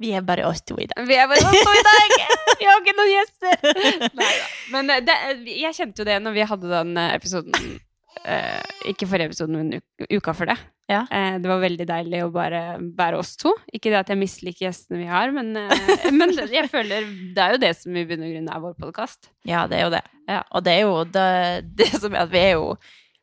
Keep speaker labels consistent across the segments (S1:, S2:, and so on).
S1: Vi er bare oss to i dag.
S2: Vi er bare oss to i dag! Vi har ikke noen gjester! Neida. Men eh, det, jeg kjente jo det når vi hadde den eh, episoden eh, Ikke forrige episoden, men u- uka før det.
S1: Ja.
S2: Eh, det var veldig deilig å bare være oss to. Ikke det at jeg misliker gjestene vi har, men, eh, men jeg føler det er jo det som i bunn og grunn er vår podkast.
S1: Ja, det er jo det. Og det er jo det, det som er at vi er jo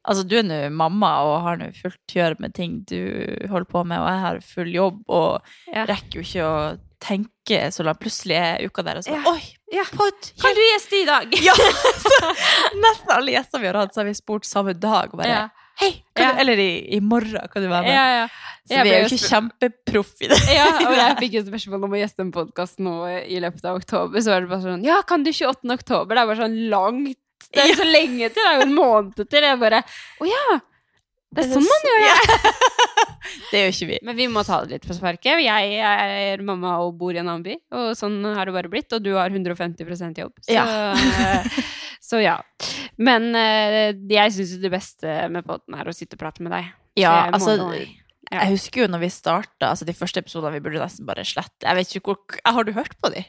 S1: Altså, du er nå mamma og har nå fullt gjør med ting du holder på med, og jeg har full jobb og
S2: Ja.
S1: rekker jo ikke å tenke så langt. Plutselig er uka der, og så
S2: Ja.
S1: Oi!
S2: Ja.
S1: Pod,
S2: Kan du gjeste i dag?
S1: Ja! Så, nesten alle gjester vi har hatt, så har vi spurt samme dag. Og bare
S2: Ja.
S1: Hei! Kan
S2: Ja.
S1: du, eller i, i morgen, kan du være med?
S2: Ja, ja.
S1: Så
S2: Jeg
S1: vi
S2: ble
S1: er
S2: jo
S1: jo ikke
S2: spurt-
S1: kjempeproff i det.
S2: Ja, og jeg fikk jo spørsmål om å gjeste en podkast nå i løpet av oktober. Så var det bare sånn Ja, kan du 28. oktober? Det er bare sånn langt. Det er jo så lenge til. Det er jo en måned til. Jeg bare Å ja! Det er sånn man gjør det.
S1: Det er jo ikke vi.
S2: Men vi må ta det litt på sparket. Jeg er mamma og bor i en annen by, og sånn har det bare blitt. Og du har 150 jobb. Så
S1: Ja.
S2: så ja. Men eh, jeg syns det beste med podden er å sitte og prate med deg. Så
S1: Ja,
S2: jeg må
S1: altså
S2: nå- Ja.
S1: Jeg husker jo når vi starta, altså de første episodene vi burde nesten bare slette. Jeg vet ikke hvor Har du hørt på de?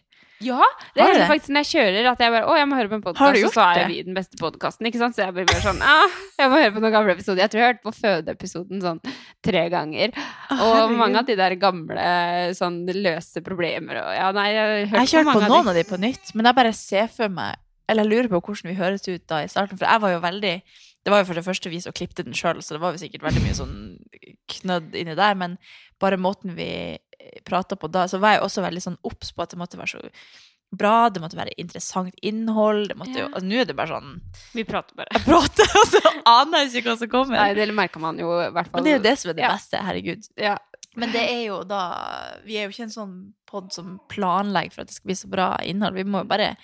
S2: Ja, det
S1: Har du
S2: er
S1: det?
S2: faktisk når jeg kjører at jeg bare Å, jeg må høre på en
S1: Har
S2: podkast,
S1: du
S2: og så
S1: gjort
S2: er
S1: det?
S2: vi den beste podkasten, ikke sant? Så jeg blir bare sånn ah, Jeg må høre på noen gamle episoder. Jeg tror jeg har hørt på fødeepisoden sånn tre ganger. Og
S1: herregud.
S2: mange av de der gamle sånn løse problemer og Ja, nei, jeg har
S1: Jeg har
S2: hørt
S1: ikke
S2: på
S1: hørt på
S2: mange
S1: noen
S2: av
S1: av
S2: de.
S1: de på nytt, men jeg bare ser for meg Eller jeg lurer på hvordan vi høres ut da i starten, for jeg var jo veldig Det var jo for det første vi som klippet den sjøl, så det var jo sikkert veldig mye sånn knødd inni der, men bare måten vi prata på da, så var jeg også veldig sånn obs på at det måtte være så bra, det måtte være interessant innhold, det måtte jo
S2: Ja.
S1: altså, Nå er det bare sånn
S2: Vi prater bare.
S1: Jeg prater, og så aner jeg ikke hva som kommer.
S2: Nei, det merka man jo i hvert fall.
S1: Men det er jo det som er det
S2: Ja.
S1: beste, herregud.
S2: Ja.
S1: Men det er jo da Vi er jo ikke en sånn pod som planlegger for at det skal bli så bra innhold. Vi må jo bare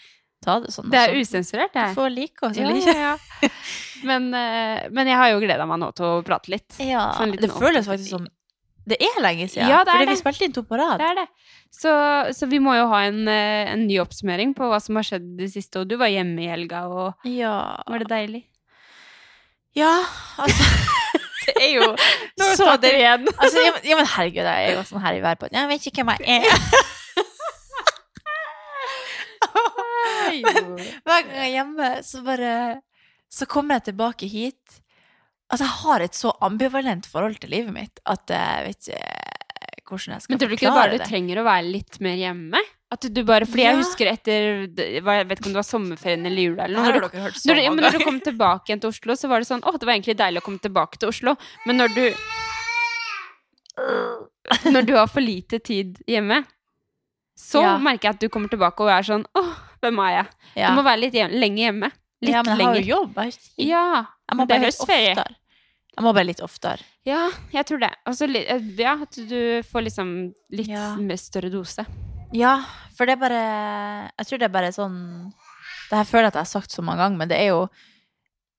S1: ta det sånn.
S2: Det er
S1: og så-
S2: usensurert, det
S1: Du
S2: her.
S1: får like oss
S2: Ja,
S1: eller
S2: ja,
S1: ikke.
S2: ja. Men, eh, men jeg har jo gleda meg nå til å prate litt.
S1: Ja,
S2: Sånn liten
S1: det føles
S2: oppdatering.
S1: faktisk som Det er lenge siden.
S2: Ja, det er
S1: fordi vi
S2: det.
S1: spilte inn to på rad.
S2: Det er det. Så, så vi må jo ha en, eh, en ny oppsummering på hva som har skjedd det siste. Og du var hjemme i helga, og
S1: Ja.
S2: var det deilig?
S1: ja, altså Det er jo så det
S2: igjen!
S1: altså, ja, men- ja, men herregud, jeg er jo sånn her i været på Jeg vet ikke hvem jeg er. Hver gang jeg er hjemme, så bare Så kommer jeg tilbake hit. Altså, jeg har et så ambivalent forhold til livet mitt at jeg vet ikke hvordan jeg skal
S2: Men tror du ikke
S1: forklare
S2: bare du
S1: det.
S2: trenger å være litt mer hjemme? At du bare, fordi
S1: Ja.
S2: jeg husker etter jeg vet ikke om det var sommerferien eller jula eller noe.
S1: Her
S2: når
S1: har
S2: du-
S1: dere hørt så
S2: Når du, ja,
S1: mange
S2: men når du
S1: ganger.
S2: kom tilbake igjen til Oslo, så var det sånn Å, det var egentlig deilig å komme tilbake til Oslo. Men når du Når du har for lite tid hjemme, så
S1: Ja.
S2: merker jeg at du kommer tilbake og er sånn Å, hvem er jeg?
S1: ja.
S2: Du må være litt hjem, lenge hjemme. Litt
S1: ja, men jeg har
S2: lenger.
S1: jo jobb. Jeg, har ikke-
S2: Ja.
S1: jeg
S2: men
S1: må
S2: det er
S1: bare litt
S2: høstferie.
S1: oftere. Jeg må bare litt oftere.
S2: ja, jeg tror det. Altså, li- eh, ja, at du får liksom litt
S1: Ja.
S2: mer større dose.
S1: Ja, for det er bare Jeg tror det er bare sånn Det her føler jeg at jeg har sagt så mange ganger, men det er jo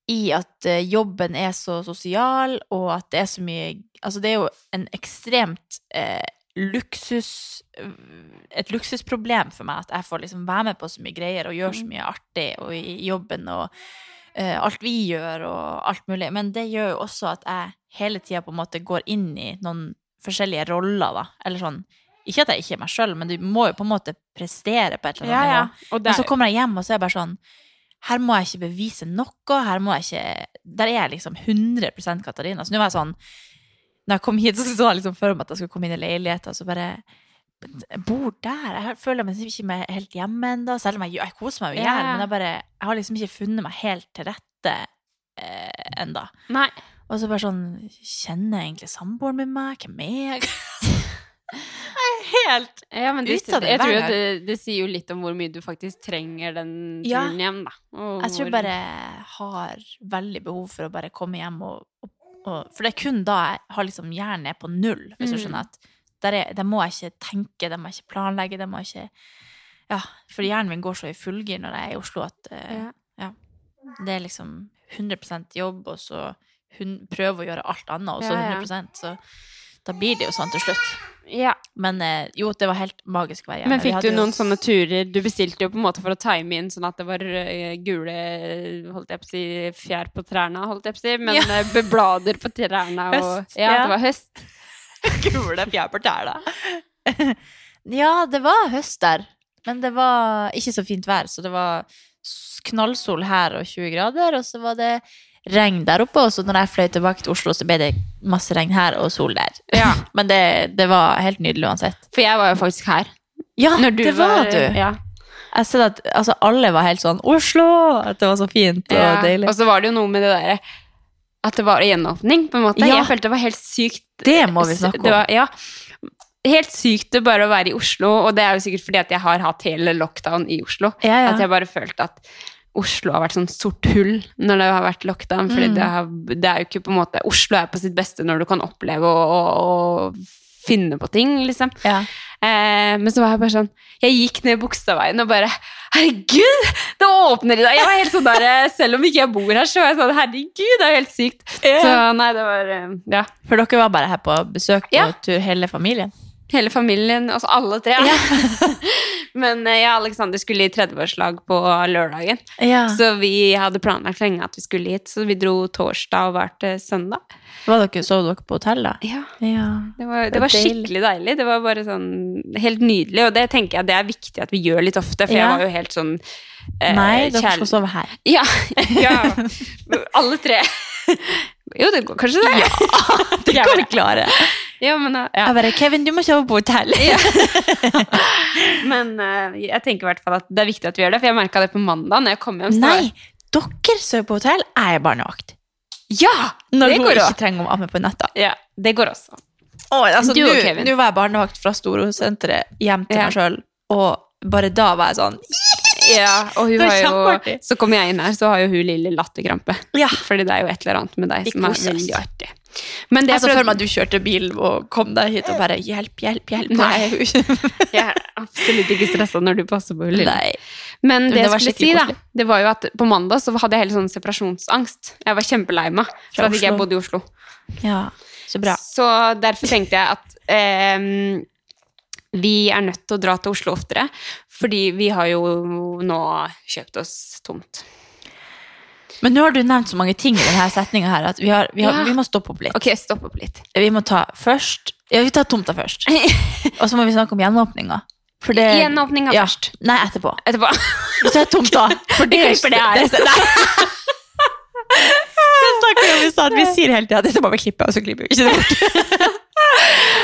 S1: i at eh, jobben er så sosial, og at det er så mye Altså, det er jo en ekstremt eh, luksus eh, Et luksusproblem for meg at jeg får liksom være med på så mye greier og gjøre så mye artig og i jobben og eh, alt vi gjør og alt mulig. Men det gjør jo også at jeg hele tida på en måte går inn i noen forskjellige roller, da. Eller sånn Ikke at jeg ikke er meg sjøl, men du må jo på en måte prestere på et eller annet nivå.
S2: Og det
S1: Men så
S2: er,
S1: kommer jeg hjem, og så er jeg bare sånn Her må jeg ikke bevise noe. Her må jeg ikke Der er jeg liksom 100 Katarina. Så nå var jeg sånn Når jeg kom hit, så så jeg liksom for meg at jeg skulle komme inn i leiligheten, og så bare jeg bor der. Jeg føler meg liksom ikke meg helt hjemme ennå, selv om jeg, jeg koser meg jo i hjel.
S2: Ja.
S1: Men jeg, bare, jeg har liksom ikke funnet meg helt til rette eh, ennå.
S2: Nei.
S1: Og så bare sånn Kjenner egentlig samboeren min meg? Hvem er jeg? Helt
S2: Ja, men det,
S1: Ut av det
S2: jeg
S1: hver
S2: tror jo
S1: gang.
S2: det, det sier jo litt om hvor mye du faktisk trenger den
S1: Ja.
S2: turen hjem, da. Og
S1: Jeg tror
S2: hvor-
S1: bare jeg har veldig behov for å bare komme hjem og, og, og For det er kun da jeg har liksom hjernen er på null, hvis du
S2: Mm.
S1: skjønner at der, er, der må jeg ikke tenke, der må jeg ikke planlegge, der må jeg ikke Ja, for hjernen min går så i fullgir når jeg er i Oslo at eh,
S2: Ja.
S1: ja. Det er liksom 100 jobb, og så hun prøver å gjøre alt annet, og så
S2: Ja, ja.
S1: 100 Så da blir det jo sånn til slutt.
S2: Ja.
S1: Men eh, jo, det var helt magisk å være hjemme.
S2: Men
S1: Vi
S2: fikk
S1: hadde
S2: du
S1: jo-
S2: noen sånne turer Du bestilte jo på en måte for å time inn sånn at det var eh, gule holdt jeg på å si, fjær på trærne, holdt jeg på å si, men
S1: Ja.
S2: eh, beblader på trærne og
S1: Høst,
S2: Ja,
S1: ja.
S2: det var høst.
S1: gule fjær på tærne. ja, det var høst der. Men det var ikke så fint vær, så det var s- knallsol her og 20 grader, og så var det regn der oppe, og så når jeg fløy tilbake til Oslo, så ble det masse regn her og sol der. Men det, det var helt nydelig uansett.
S2: For jeg var jo faktisk her.
S1: Ja,
S2: Når du
S1: det var, du!
S2: Ja.
S1: Jeg ser at altså, alle var helt sånn 'Oslo!' At det var så fint og
S2: Ja, Altså,
S1: deilig.
S2: Og så var det jo noe med det derre At det var gjenåpning, på en måte.
S1: Ja.
S2: Jeg følte det var helt sykt.
S1: Det må vi snakke om.
S2: Det var, ja. Helt sykt det bare å være i Oslo, og det er jo sikkert fordi at jeg har hatt hele lockdown i Oslo.
S1: Ja, ja.
S2: At jeg bare følte at Oslo har vært sånn sort hull når det har vært lockdown. Fordi
S1: Mm.
S2: det, har, det er jo ikke på en måte Oslo er på sitt beste når du kan oppleve å, å, å finne på ting, liksom.
S1: Ja.
S2: Eh, men så var jeg bare sånn Jeg gikk ned Bogstadveien og bare Herregud, det åpner i dag! Jeg var helt sånn der, eh, Selv om ikke jeg bor her, så var jeg sånn Herregud, det er jo helt sykt. Så nei, det var eh, Ja.
S1: For dere var bare her på besøk og
S2: Ja.
S1: tur, hele familien.
S2: Hele familien, altså alle tre. men eh, jeg og Aleksander skulle i 30-årslag på lørdagen.
S1: Ja.
S2: Så vi hadde planlagt lenge at vi skulle hit, så vi dro torsdag og var til søndag.
S1: Var dere, sov dere på hotell, da?
S2: Ja,
S1: Ja.
S2: Det var, det var skikkelig deilig. Det var bare sånn helt nydelig, og det tenker jeg det er viktig at vi gjør litt ofte, for jeg
S1: Ja.
S2: var jo helt sånn eh,
S1: Nei, dere
S2: kjærl-
S1: skal sove her.
S2: Ja. ja. Alle tre. Jo, det går kanskje det. Ja, det
S1: Kan vi klare?
S2: Ja, men, eh, ja.
S1: Jeg bare, Kevin, du må sove på hotell.
S2: men eh, jeg tenker i hvert fall at det er viktig at vi gjør det, for jeg merka det på mandag når jeg kom hjem. så var
S1: Nei,
S2: jeg-
S1: dere sover på hotell. Jeg er barnevakt.
S2: Ja!
S1: Når
S2: det
S1: hun
S2: går
S1: ikke
S2: også.
S1: trenger å amme på natta.
S2: Ja, det går også.
S1: Altså,
S2: Du
S1: nå-
S2: og Kevin.
S1: Nå var jeg barnevakt fra Storosenteret hjem til
S2: Ja.
S1: meg sjøl, og bare da var jeg sånn
S2: Ja, og hun
S1: Det er
S2: har jo,
S1: kjempeartig.
S2: så kom jeg inn her, så har jo hun lille latterkrampe.
S1: Ja.
S2: Fordi det er jo et eller annet med deg
S1: Vi
S2: som er
S1: koser oss.
S2: veldig artig. Men det
S1: Jeg så
S2: prøvde-
S1: for meg at du kjørte bil og kom deg hit og bare Hjelp, hjelp, hjelp.
S2: Nei.
S1: Nei.
S2: Jeg er absolutt ikke stressa når du passer på hun lille.
S1: Nei.
S2: Men det,
S1: det var
S2: jeg skulle si,
S1: skikkelig
S2: da, det var jo at på mandag så hadde jeg hele sånn separasjonsangst. Jeg var kjempelei meg for
S1: Fra
S2: at ikke jeg
S1: Oslo.
S2: bodde i Oslo.
S1: Ja, så bra.
S2: Så derfor tenkte jeg at ehm, vi er nødt til å dra til Oslo oftere, fordi vi har jo nå kjøpt oss tomt.
S1: Men nå har du nevnt så mange ting i denne setninga her at vi, har, vi, har,
S2: Ja.
S1: vi må stoppe opp litt.
S2: Ok, stopp opp litt.
S1: Vi må ta først Ja, vi tar tomta først. Og så må vi snakke om gjenåpninga. For det-
S2: Gjenåpninga
S1: ja.
S2: først.
S1: Nei, etterpå.
S2: Etterpå.
S1: Vi tar tomta. For
S2: Vi klipper det her.
S1: Nei. Det snakker vi om i stad. Vi sier hele tida at dette må vi klippe, og så klipper vi ikke det bort.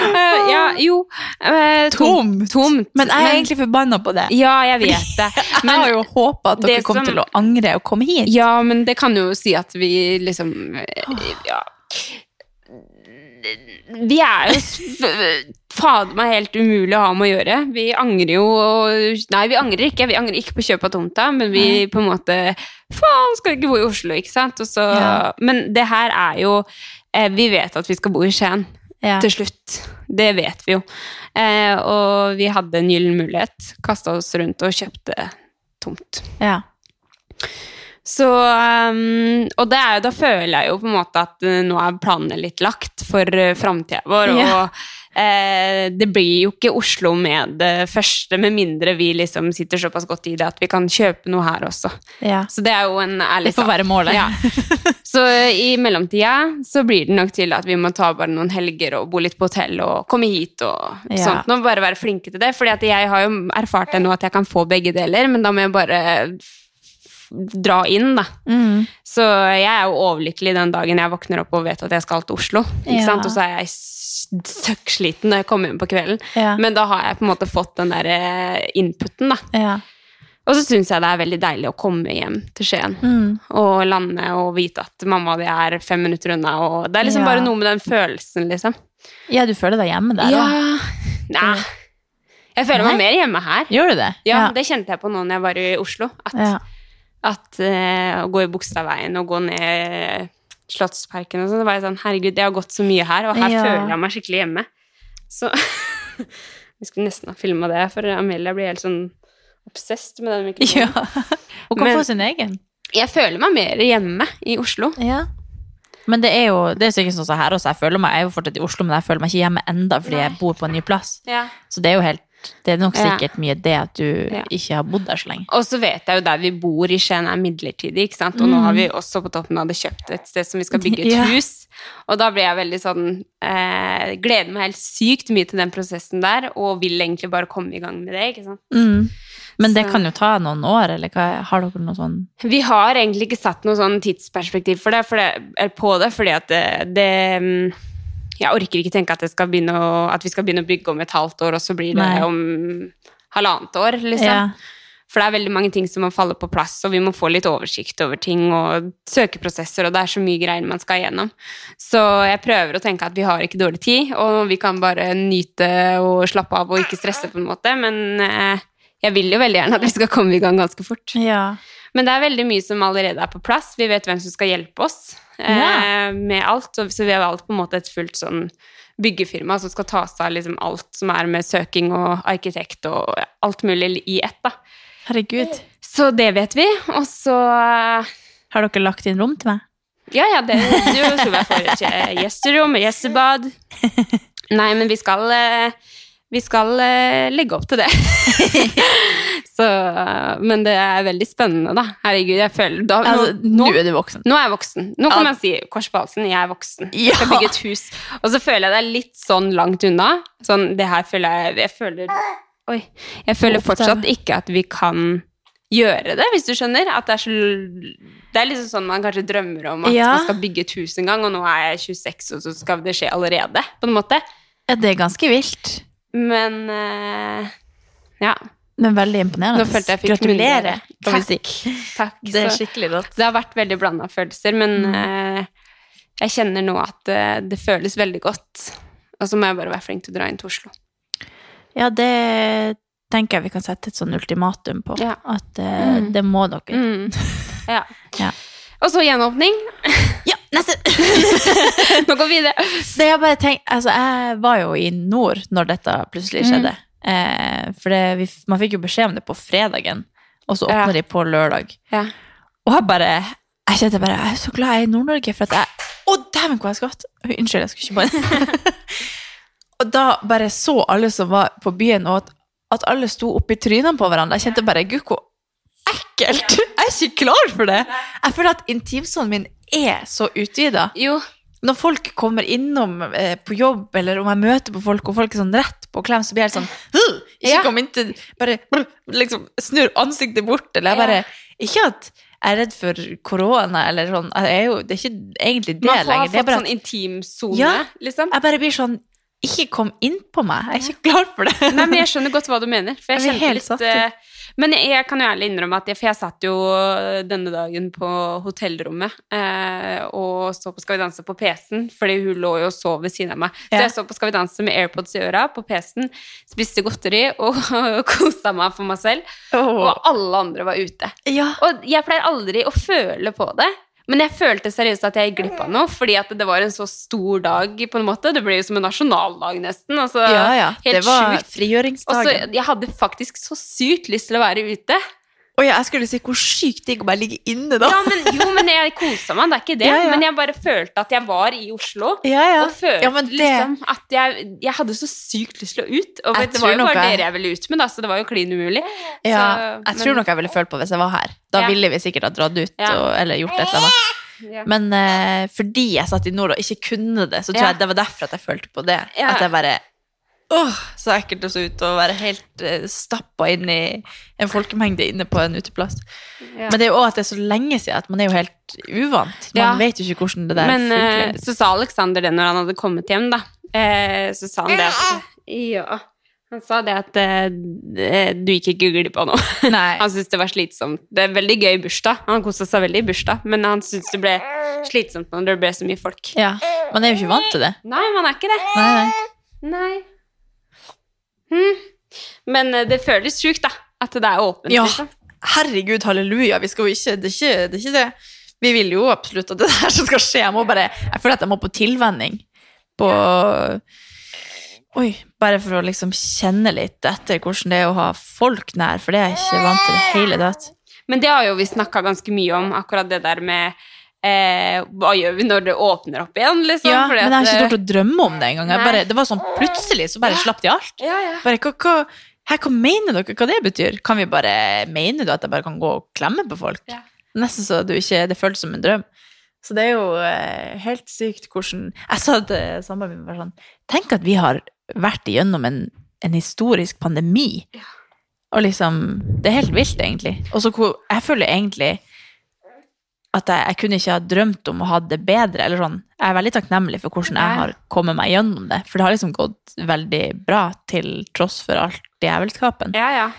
S2: Eh, ja, jo. eh,
S1: Tomt.
S2: Tomt.
S1: Men jeg er egentlig forbanna på det.
S2: Ja, jeg vet det.
S1: jeg har jo håpa at dere
S2: det
S1: kom
S2: som-
S1: til å angre og komme hit.
S2: Ja, men det kan jo si at vi liksom eh, Ja. Vi er jo s- f- fader meg helt umulig å ha med å gjøre. Vi angrer jo og- Nei, vi angrer ikke. Vi angrer ikke på kjøp av tomta, men vi på en måte Faen, skal ikke bo i Oslo, ikke sant? Og så,
S1: Ja.
S2: Men det her er jo eh, Vi vet at vi skal bo i Skien
S1: Ja.
S2: til slutt. Det vet vi jo. Eh, Og vi hadde en gyllen mulighet. Kasta oss rundt og kjøpte tomt.
S1: Ja.
S2: Så, um, og det er jo, da føler jeg jo på en måte at eh, nå er planene litt lagt for uh, framtida vår.
S1: Ja.
S2: Og eh, det blir jo ikke Oslo med det første, med mindre vi liksom sitter såpass godt i det at vi kan kjøpe noe her også.
S1: ja.
S2: Så det er jo en ærlig
S1: Det får være målet.
S2: Ja. Så eh, i mellomtida så blir det nok til at vi må ta bare noen helger og bo litt på hotell og komme hit og
S1: Ja.
S2: sånt. Nå må vi bare være flinke til det, fordi at jeg har jo erfart det nå at jeg kan få begge deler, men da må jeg bare f- dra inn, da.
S1: Mm.
S2: Så jeg er jo overlykkelig den dagen jeg våkner opp og vet at jeg skal til Oslo. Ikke
S1: Ja.
S2: sant? Og så er jeg s- søkksliten når jeg kommer hjem på kvelden.
S1: Ja.
S2: Men da har jeg på en måte fått den der eh, inputen, da.
S1: Ja.
S2: Og så syns jeg det er veldig deilig å komme hjem til Skien
S1: Mm.
S2: og lande og vite at mamma og de er fem minutter unna. Og det er liksom
S1: Ja.
S2: bare noe med den følelsen, liksom.
S1: ja, du føler deg hjemme der,
S2: ja.
S1: da?
S2: Nei. Jeg føler meg mer hjemme her.
S1: Gjør du det?
S2: Ja, Det kjente jeg på nå når jeg var i Oslo. At,
S1: Ja.
S2: at eh, å gå i Bogstadveien og gå ned Slottsparken og sånn, så var jeg sånn Herregud, jeg har gått så mye her, og her
S1: Ja.
S2: føler jeg meg skikkelig hjemme. Så Vi skulle nesten ha filma det, for Amelia blir helt sånn obsessed med den mikrofonen.
S1: Ja. Hun kan
S2: Men-
S1: få sin egen.
S2: Jeg føler meg mer hjemme i Oslo.
S1: Ja. Men det er jo det er sikkert sånn som her også. Jeg føler meg jeg er jo fortsatt i Oslo, men jeg føler meg ikke hjemme enda fordi jeg bor på en ny plass. Så det er jo helt Det er nok
S2: Ja.
S1: sikkert mye det at du
S2: Ja.
S1: ikke har bodd der så lenge.
S2: Og så vet jeg jo der vi bor i Skien er midlertidig, ikke sant? Og nå har vi også på toppen av det kjøpt et sted som vi skal bygge et
S1: Ja.
S2: hus. Og da blir jeg veldig sånn eh, Gleder meg helt sykt mye til den prosessen der, og vil egentlig bare komme i gang med det, ikke sant.
S1: Mm. Men det
S2: Så-
S1: kan jo ta noen år, eller hva? Har dere noe sånn
S2: Vi har egentlig ikke satt noe sånn tidsperspektiv for det, for det, eller på det, fordi at det, det mm, Jeg orker ikke tenke at, det skal begynne å, at vi skal begynne å bygge om et halvt år, og så blir det
S1: Nei.
S2: om halvannet år, liksom.
S1: Ja.
S2: For det er veldig mange ting som må falle på plass, og vi må få litt oversikt over ting og søkeprosesser, og det er så mye greier man skal gjennom. Så jeg prøver å tenke at vi har ikke dårlig tid, og vi kan bare nyte og slappe av og ikke stresse, på en måte. Men eh, jeg vil jo veldig gjerne at vi skal komme i gang ganske fort.
S1: Ja.
S2: Men det er veldig mye som allerede er på plass. Vi vet hvem som skal hjelpe oss
S1: Ja.
S2: eh, med alt. og- Så vi har valgt på en måte et fullt sånn byggefirma som skal ta seg av liksom alt som er med søking og arkitekt og alt mulig i ett. da.
S1: Herregud.
S2: Så det vet vi. Og så eh,
S1: Har dere lagt inn rom til meg?
S2: Ja, ja, det du tror jeg får et eh, gjesterom, et gjestebad. Nei, men vi skal eh, Vi skal eh, legge opp til det. så eh, Men det er veldig spennende, da. Herregud, jeg føler da, nå-
S1: Altså, nå er du voksen.
S2: nå er jeg voksen. Nå kan
S1: Ja.
S2: man si kors på halsen, jeg er voksen.
S1: Ja.
S2: Jeg skal bygge et hus. Og så føler jeg det er litt sånn langt unna. Sånn, det her føler jeg Jeg føler, oi, jeg føler fortsatt ikke at vi kan gjøre det, hvis du skjønner. At det er så Det er liksom sånn man kanskje drømmer om at
S1: Ja.
S2: man skal bygge et hus en gang, og nå er jeg 26, og så skal det skje allerede, på en måte.
S1: Ja, det er ganske vilt,
S2: Men eh, ja.
S1: men veldig imponerende.
S2: Nå følte jeg fikk
S1: Gratulerer,
S2: munnbind.
S1: kan vi si.
S2: Takk.
S1: Det er
S2: så-
S1: skikkelig rått.
S2: Det har vært veldig blanda følelser, men
S1: Mm.
S2: eh, jeg kjenner nå at eh, det føles veldig godt. Og så må jeg bare være flink til å dra inn til Oslo.
S1: Ja, det tenker jeg vi kan sette et sånn ultimatum på.
S2: Ja.
S1: At eh,
S2: Mm.
S1: det må dere.
S2: Ja.
S1: Ja.
S2: Og så gjenåpning.
S1: Ja, neste!
S2: Nå går vi videre.
S1: Det jeg bare tenker, altså jeg var jo i nord når dette plutselig
S2: Mm.
S1: skjedde. Eh, for det, vi, f- man fikk jo beskjed om det på fredagen, og så
S2: Ja.
S1: åpner de på lørdag.
S2: Ja.
S1: Og jeg bare, jeg kjente bare, jeg er så glad jeg er i Nord-Norge, for at jeg, å dæven hvor jeg skvatt. Oi, Unnskyld, jeg skulle ikke på det. og da bare så alle som var på byen, og at, at alle sto oppi trynene på hverandre. Jeg kjente bare, gud, hvor ekkelt. Jeg er ikke klar for det. Jeg føler at intimsonen min er så utvidet
S2: Jo.
S1: når folk kommer innom eh, på jobb, eller om jeg møter på folk, og folk er sånn rett på klem, så blir jeg helt sånn «Ugh!» Ikke
S2: Ja.
S1: kom inn til Bare liksom snur ansiktet bort, eller jeg bare Ikke at jeg er redd for korona, eller sånn. Jeg er jo, det er ikke egentlig det
S2: Man får ha
S1: lenger. Det er
S2: fått
S1: bare
S2: sånn
S1: at
S2: intimsone,
S1: Ja.
S2: liksom.
S1: jeg bare blir sånn Ikke kom inn på meg. Jeg er ikke klar for det.
S2: Nei, men jeg skjønner godt hva du mener. For
S1: Jeg
S2: jeg
S1: blir
S2: kjente
S1: helt
S2: litt
S1: satt ut.
S2: eh, Men jeg, jeg kan jo ærlig innrømme at jeg, For jeg satt jo eh, denne dagen på hotellrommet eh, og så på Skal vi danse på PC-en, fordi hun lå jo og sov ved siden av meg. Så
S1: Ja.
S2: jeg så på Skal vi danse med AirPods i øra på PC-en, spiste godteri og kosa meg for meg selv.
S1: Åh.
S2: Og alle andre var ute.
S1: Ja.
S2: Og jeg pleier aldri å føle på det. Men jeg følte seriøst at jeg gikk glipp av noe, fordi at det var en så stor dag. på en måte. Det ble jo som en nasjonaldag, nesten. Altså,
S1: ja, ja.
S2: Helt
S1: Det var
S2: sjukt. Og så,
S1: frigjøringsdagen.
S2: jeg hadde faktisk så sykt lyst til å være ute.
S1: Å ja, jeg skulle si hvor sykt digg å bare ligge inne, da.
S2: Ja, men, jo, men jeg kosa meg, det er ikke det.
S1: Ja, ja.
S2: Men jeg bare følte at jeg var i Oslo.
S1: Ja, ja.
S2: Og følte
S1: ja, men det,
S2: liksom at jeg, jeg hadde så sykt lyst til å ut. Og
S1: Jeg
S2: vet, det var
S1: tror
S2: jo
S1: nok
S2: bare
S1: jeg-
S2: dere jeg ville ut med, da, så det var jo klin umulig.
S1: Ja,
S2: Så,
S1: jeg tror
S2: men-
S1: nok jeg ville følt på hvis jeg var her. Da
S2: Ja.
S1: ville vi sikkert ha dratt ut
S2: Ja.
S1: og, eller gjort et eller annet.
S2: Ja.
S1: Men eh, fordi jeg satt i nord og ikke kunne det, så tror
S2: Ja.
S1: jeg det var derfor at jeg følte på det.
S2: Ja.
S1: At jeg bare Åh, så ekkelt å se ut og være helt uh, stappa inn i en folkemengde inne på en uteplass. Men det er jo også at det er så lenge siden at man er jo helt uvant. Man
S2: Ja.
S1: vet jo ikke hvordan det der
S2: Men eh,
S1: funker.
S2: så sa Alexander det når han hadde kommet hjem, da. Eh, så sa han det at Ja. Han sa det at eh, eh, du gikk ikke glipp av noe.
S1: Nei.
S2: Han syntes det var slitsomt. Det er veldig gøy i bursdag. Han kosa seg veldig i bursdag, men han syntes det ble slitsomt når det ble så mye folk.
S1: Ja. Man er jo ikke vant til det.
S2: Nei, man er ikke det.
S1: Nei, nei.
S2: Nei. Hm. Men eh, det føles sjukt, da. At det er åpent,
S1: Ja.
S2: liksom.
S1: Herregud, halleluja. Vi skal jo ikke det, er ikke det er ikke det. Vi vil jo absolutt at det der som skal skje. Jeg må bare Jeg føler at jeg må på tilvenning. På Oi. Bare for å liksom kjenne litt etter hvordan det er å ha folk nær, for det er jeg ikke vant til i det hele tatt.
S2: Men det har jo vi snakka ganske mye om, akkurat det der med eh, Hva gjør vi når det åpner opp igjen, liksom?
S1: Ja,
S2: Fordi
S1: men jeg har
S2: at,
S1: ikke
S2: eh,
S1: tort å drømme om det engang. Jeg
S2: Nei.
S1: bare- Det var sånn plutselig, så bare slapp de alt.
S2: ja, ja.
S1: Bare, hva, hva, her, hva mener dere hva det betyr? Kan vi bare, Mener du at jeg bare kan gå og klemme på folk?
S2: Ja.
S1: Nesten så du ikke, det føltes som en drøm. Så det er jo eh, helt sykt hvordan Jeg sa til samboeren min bare sånn Tenk at vi har vært igjennom en, en historisk pandemi. Og liksom Det er helt vilt, egentlig. Og så hvor- Jeg føler egentlig at jeg, jeg kunne ikke ha drømt om å ha det bedre. eller sånn. Jeg er veldig takknemlig for hvordan jeg har kommet meg gjennom det. For det har liksom gått veldig bra til tross for alt djevelskapen.
S2: ja, ja.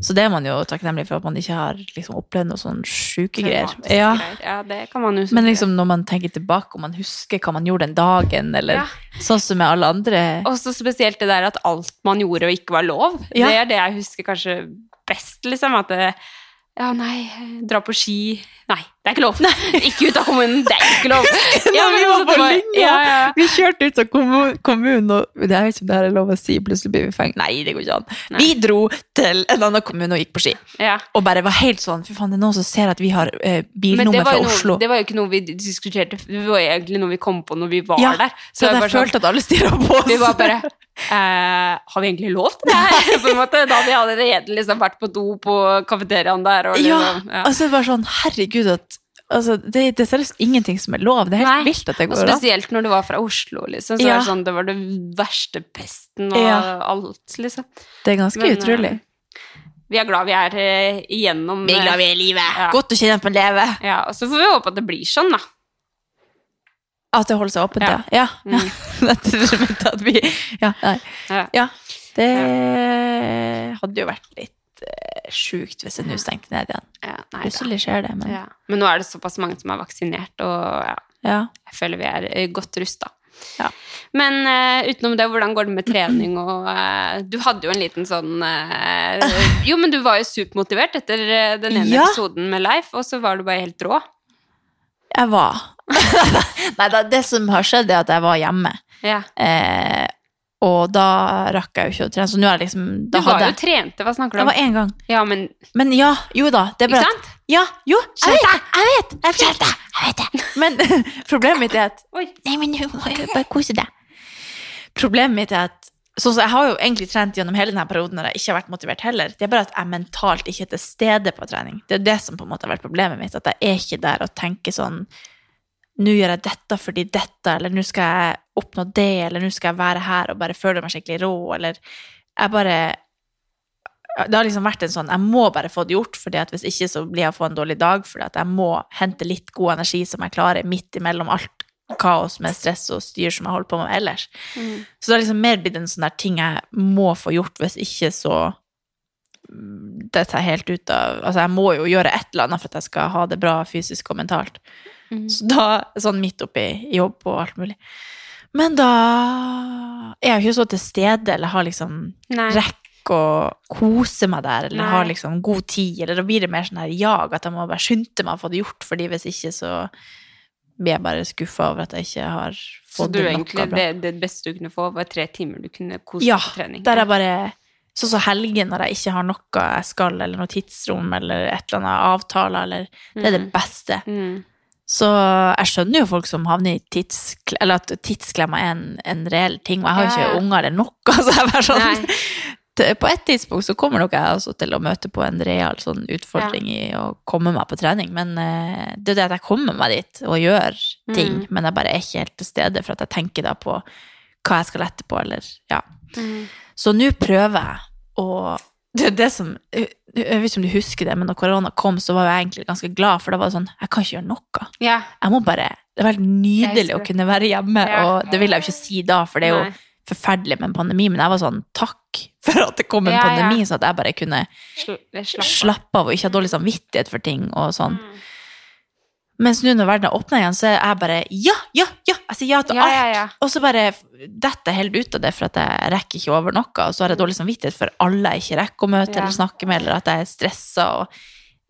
S1: Så det er man jo takknemlig for, at man ikke har liksom, opplevd noen sånne sjuke greier.
S2: Traumatiske
S1: Ja.
S2: greier. ja, det kan man jo
S1: Men liksom når man tenker tilbake, og man husker hva man gjorde den dagen, eller
S2: Ja.
S1: sånn som med alle andre
S2: Og så spesielt det der at alt man gjorde og ikke var lov.
S1: Ja.
S2: Det er det jeg husker kanskje best, liksom. At det, ja, nei, dra på ski Nei, det er ikke lov. Ikke ut av kommunen, det er ikke lov. Ja,
S1: når vi
S2: men
S1: var
S2: så
S1: på
S2: det var-
S1: Lyngen.
S2: Ja, ja.
S1: Vi kjørte ut av kommu- kommunen, og det- jeg vet ikke om det her er lov å si, plutselig blir vi fengt. Nei, det går ikke an. Vi dro til en annen kommune og gikk på ski.
S2: ja.
S1: Og bare var helt sånn, fy faen, det er noen som ser at vi har eh,
S2: Men det
S1: bilnummer
S2: var,
S1: fra
S2: jo noe,
S1: Oslo.
S2: det var jo ikke noe vi diskuterte, det var egentlig noe vi kom på når vi var
S1: ja,
S2: der.
S1: så jeg
S2: det var bare sånn-
S1: følte at alle styrer på oss.
S2: Vi var bare eh, Har vi egentlig lov til det her? På en måte. Da hadde vi allerede liksom vært på do på kafeteriaen der. Og
S1: Ja,
S2: liksom, ja.
S1: altså det var sånn, herregud at altså, det, det er seriøst ingenting som er lov. Det er helt
S2: Nei.
S1: vilt at det
S2: Og
S1: går an.
S2: spesielt når du var fra Oslo, liksom. Så
S1: Ja.
S2: var det, sånn, det var det verste pesten og
S1: Ja.
S2: alt, liksom.
S1: Det er ganske
S2: Men, eh,
S1: utrolig.
S2: Vi er glad vi er eh, igjennom eh,
S1: er i livet.
S2: Ja.
S1: Godt å kjenne at man lever.
S2: Ja, og så får vi håpe at det blir sånn, da.
S1: At det holder seg åpent, ja. ja. ja.
S2: Mm.
S1: Dette er som ikke at vi Ja, nei.
S2: Ja.
S1: ja. Det hadde jo vært litt eh, sjukt hvis det nå stengte ned igjen.
S2: Ja, nei, da.
S1: Plutselig skjer det, men
S2: Ja. Men nå er det såpass mange som er vaksinert, og ja,
S1: ja.
S2: jeg føler vi er eh, godt rusta.
S1: Ja.
S2: Men eh, utenom det, hvordan går det med trening og eh, Du hadde jo en liten sånn eh, Jo, men du var jo supermotivert etter eh, den ene
S1: Ja.
S2: episoden med Leif, og så var du bare helt rå.
S1: Jeg var Nei da, det som har skjedd, er at jeg var hjemme.
S2: Ja.
S1: Eh, og da rakk jeg jo ikke å trene, så nå er jeg liksom
S2: Du
S1: da
S2: var
S1: hadde
S2: jo trente, hva snakker du
S1: Det
S2: om?
S1: var én gang.
S2: Ja, men
S1: Men ja, jo da. Det er
S2: Ikke
S1: bare at-
S2: sant?
S1: Ja, jo, jeg vet
S2: Skjerp
S1: det! Jeg vet, jeg vet, det, jeg vet det. Men problemet mitt er at
S2: Oi.
S1: Nei, men du må jo bare kose deg. Problemet mitt er at sånn som Jeg har jo egentlig trent gjennom hele denne perioden når jeg ikke har vært motivert heller. Det er bare at jeg mentalt ikke er til stede på trening. Det er det som på en måte har vært problemet mitt. At jeg er ikke der og tenker sånn Nå gjør jeg dette fordi dette, eller nå skal jeg oppnå det, eller nå skal jeg være her og bare føle meg skikkelig rå, eller Jeg bare det har liksom vært en sånn Jeg må bare få det gjort, fordi at hvis ikke så blir jeg å få en dårlig dag. fordi at jeg må hente litt god energi som jeg klarer, midt imellom alt kaos med stress og styr som jeg holder på med ellers. Så det har liksom mer blitt en sånn der ting jeg må få gjort, hvis ikke så mm, det tar helt ut av Altså, jeg må jo gjøre et eller annet for at jeg skal ha det bra fysisk og mentalt. Så da Sånn midt oppi jobb og alt mulig. Men da er jeg jo ikke så til stede, eller har liksom
S2: Nei.
S1: rekke å kose meg der, eller
S2: Nei.
S1: ha liksom god tid, eller da blir det mer sånn her jag, at jeg må bare skynde meg å få det gjort, fordi hvis ikke så blir jeg bare skuffa over at jeg ikke har
S2: Så
S1: fått
S2: du
S1: det
S2: egentlig,
S1: noe bra.
S2: det, det beste du kunne få, var tre timer du kunne kose
S1: Ja,
S2: deg på trening?
S1: der jeg bare Sånn som helgen, når jeg ikke har noe jeg skal, eller noe tidsrom, eller et eller annet avtale, eller Det er det beste.
S2: Mm.
S1: Så jeg skjønner jo folk som havner i tidskle- eller at tidsklemma er en, en reell ting. Og jeg har jo
S2: Ja,
S1: ikke
S2: ja.
S1: unger eller noe. Så jeg er bare sånn,
S2: Nei.
S1: Det- på et tidspunkt så kommer nok jeg også til å møte på en real sånn utfordring i å komme meg på trening. Men eh, det er det at jeg kommer meg dit og gjør
S2: Mm.
S1: ting, men jeg bare er ikke helt til stede for at jeg tenker da på hva jeg skal lette på, eller ja. Så nå prøver jeg å det, er det som, jeg jeg vet ikke om du husker det, men når korona kom, så var jeg egentlig ganske glad, for da var det sånn Jeg kan ikke gjøre noe.
S2: Ja.
S1: Jeg må bare Det var helt nydelig å
S2: husker det.
S1: kunne være hjemme,
S2: Ja.
S1: og det vil jeg jo ikke si da, for det er jo
S2: Nei.
S1: forferdelig med en pandemi, men jeg var sånn Takk for at det kom en
S2: Ja, ja.
S1: pandemi, så at jeg bare kunne
S2: Sl- jeg slapp av. Mm.
S1: slappe av og ikke ha dårlig samvittighet for ting og sånn. Mens nå når verden har åpna igjen, så er jeg bare ja, ja, ja! Jeg sier ja til
S2: Ja,
S1: alt.
S2: ja, ja.
S1: Og så bare detter jeg helt ut av det for at jeg rekker ikke over noe, og så har jeg dårlig samvittighet for alle jeg ikke rekker å møte
S2: Ja.
S1: eller snakke med, eller at jeg er stressa. Og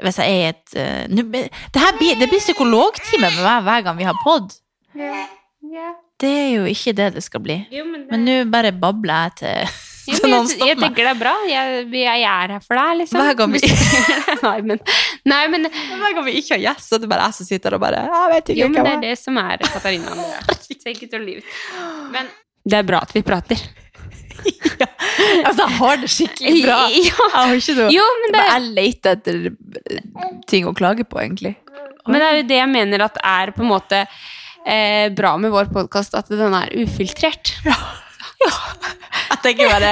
S1: hvis jeg er i et eh, nå blir- det, her blir, det blir psykologtime med meg hver gang vi har pod. Det er jo ikke det det skal bli.
S2: Jo, men det-
S1: Men nå bare babler jeg
S2: Jo,
S1: til, til
S2: men
S1: noen
S2: jeg, jeg
S1: stopper meg.
S2: tenker det er bra. Jeg, jeg er her for deg, liksom.
S1: Hver gang vi-
S2: nei, men, nei, men
S1: Hver gang vi ikke har gjest, så er det bare jeg som sitter der og bare Jeg vet
S2: Jo,
S1: ikke hvem
S2: men det
S1: jeg
S2: er det som er Katarina Andrea. Take it or leave it. Men det er bra at vi prater.
S1: Altså, jeg har det skikkelig bra.
S2: Ja.
S1: Jeg har ikke noe
S2: Jo, men det,
S1: Jeg leter etter ting å klage på, egentlig.
S2: men det er jo det jeg mener at er på en måte eh, bra med vår podkast, at den er ufiltrert.
S1: Jeg tenker bare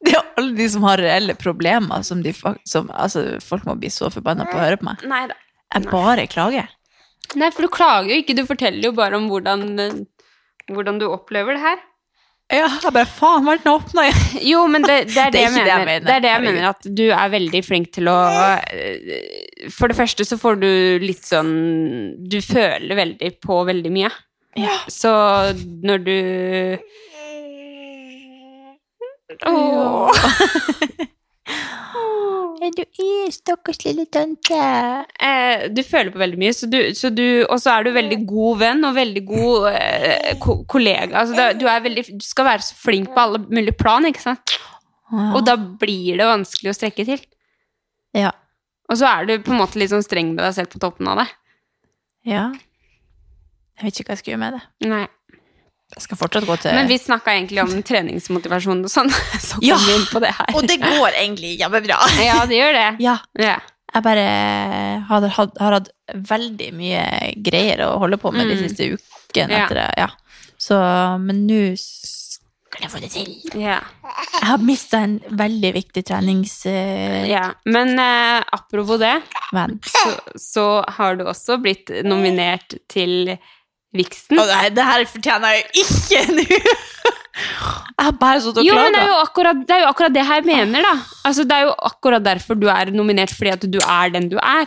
S1: Det er alle de som har reelle problemer, som, de, fak- som altså, folk må bli så forbanna på å høre på meg.
S2: Nei da.
S1: Jeg bare klager.
S2: Nei, for du klager jo ikke. Du forteller jo bare om hvordan, eh, hvordan du opplever det her.
S1: Ja, jeg bare Faen, verden har åpna igjen!
S2: Jo, men det, det, er
S1: Det
S2: det,
S1: er
S2: jeg
S1: ikke det
S2: mener.
S1: jeg
S2: Det,
S1: mener.
S2: er det jeg
S1: Herregud.
S2: mener, at du er veldig flink til å eh, For det første så får du litt sånn Du føler veldig på veldig mye.
S1: Ja.
S2: Så når du Åh.
S1: Du er stakkars lille tante.
S2: Eh, du føler på veldig mye, så du, så du, og så er du veldig god venn og veldig god eh, ko kollega. Altså, det er- du, er veldig, du skal være så flink på alle mulige plan, ikke sant? Og da blir det vanskelig å strekke til.
S1: Ja.
S2: Og så er du på en måte litt sånn streng med deg selv på toppen av det.
S1: ja. Jeg vet ikke hva jeg skal gjøre med det.
S2: Nei.
S1: Jeg skal fortsatt gå til
S2: Men vi snakka egentlig om treningsmotivasjon og sånn, så kom
S1: Ja.
S2: vi inn på det her.
S1: Og det går egentlig jammebra.
S2: Ja, det gjør det.
S1: Ja.
S2: Ja.
S1: Jeg bare har, hatt- har hatt veldig mye greier å holde på med de
S2: Mm.
S1: siste ukene.
S2: Ja.
S1: Etter det, ja. Så, men nå skal jeg få det til.
S2: Ja.
S1: Jeg har mista en veldig viktig treningsvenn.
S2: ja. Men eh, apropos det, så, så har du også blitt nominert til Vixen.
S1: nei, det her fortjener jeg jo ikke nå! Jeg har bare sittet og
S2: Jo, men det er
S1: klaga.
S2: jo, akkurat, det er jo akkurat det her jeg mener, da. Altså, det er jo akkurat derfor du er nominert, fordi at du er den du er.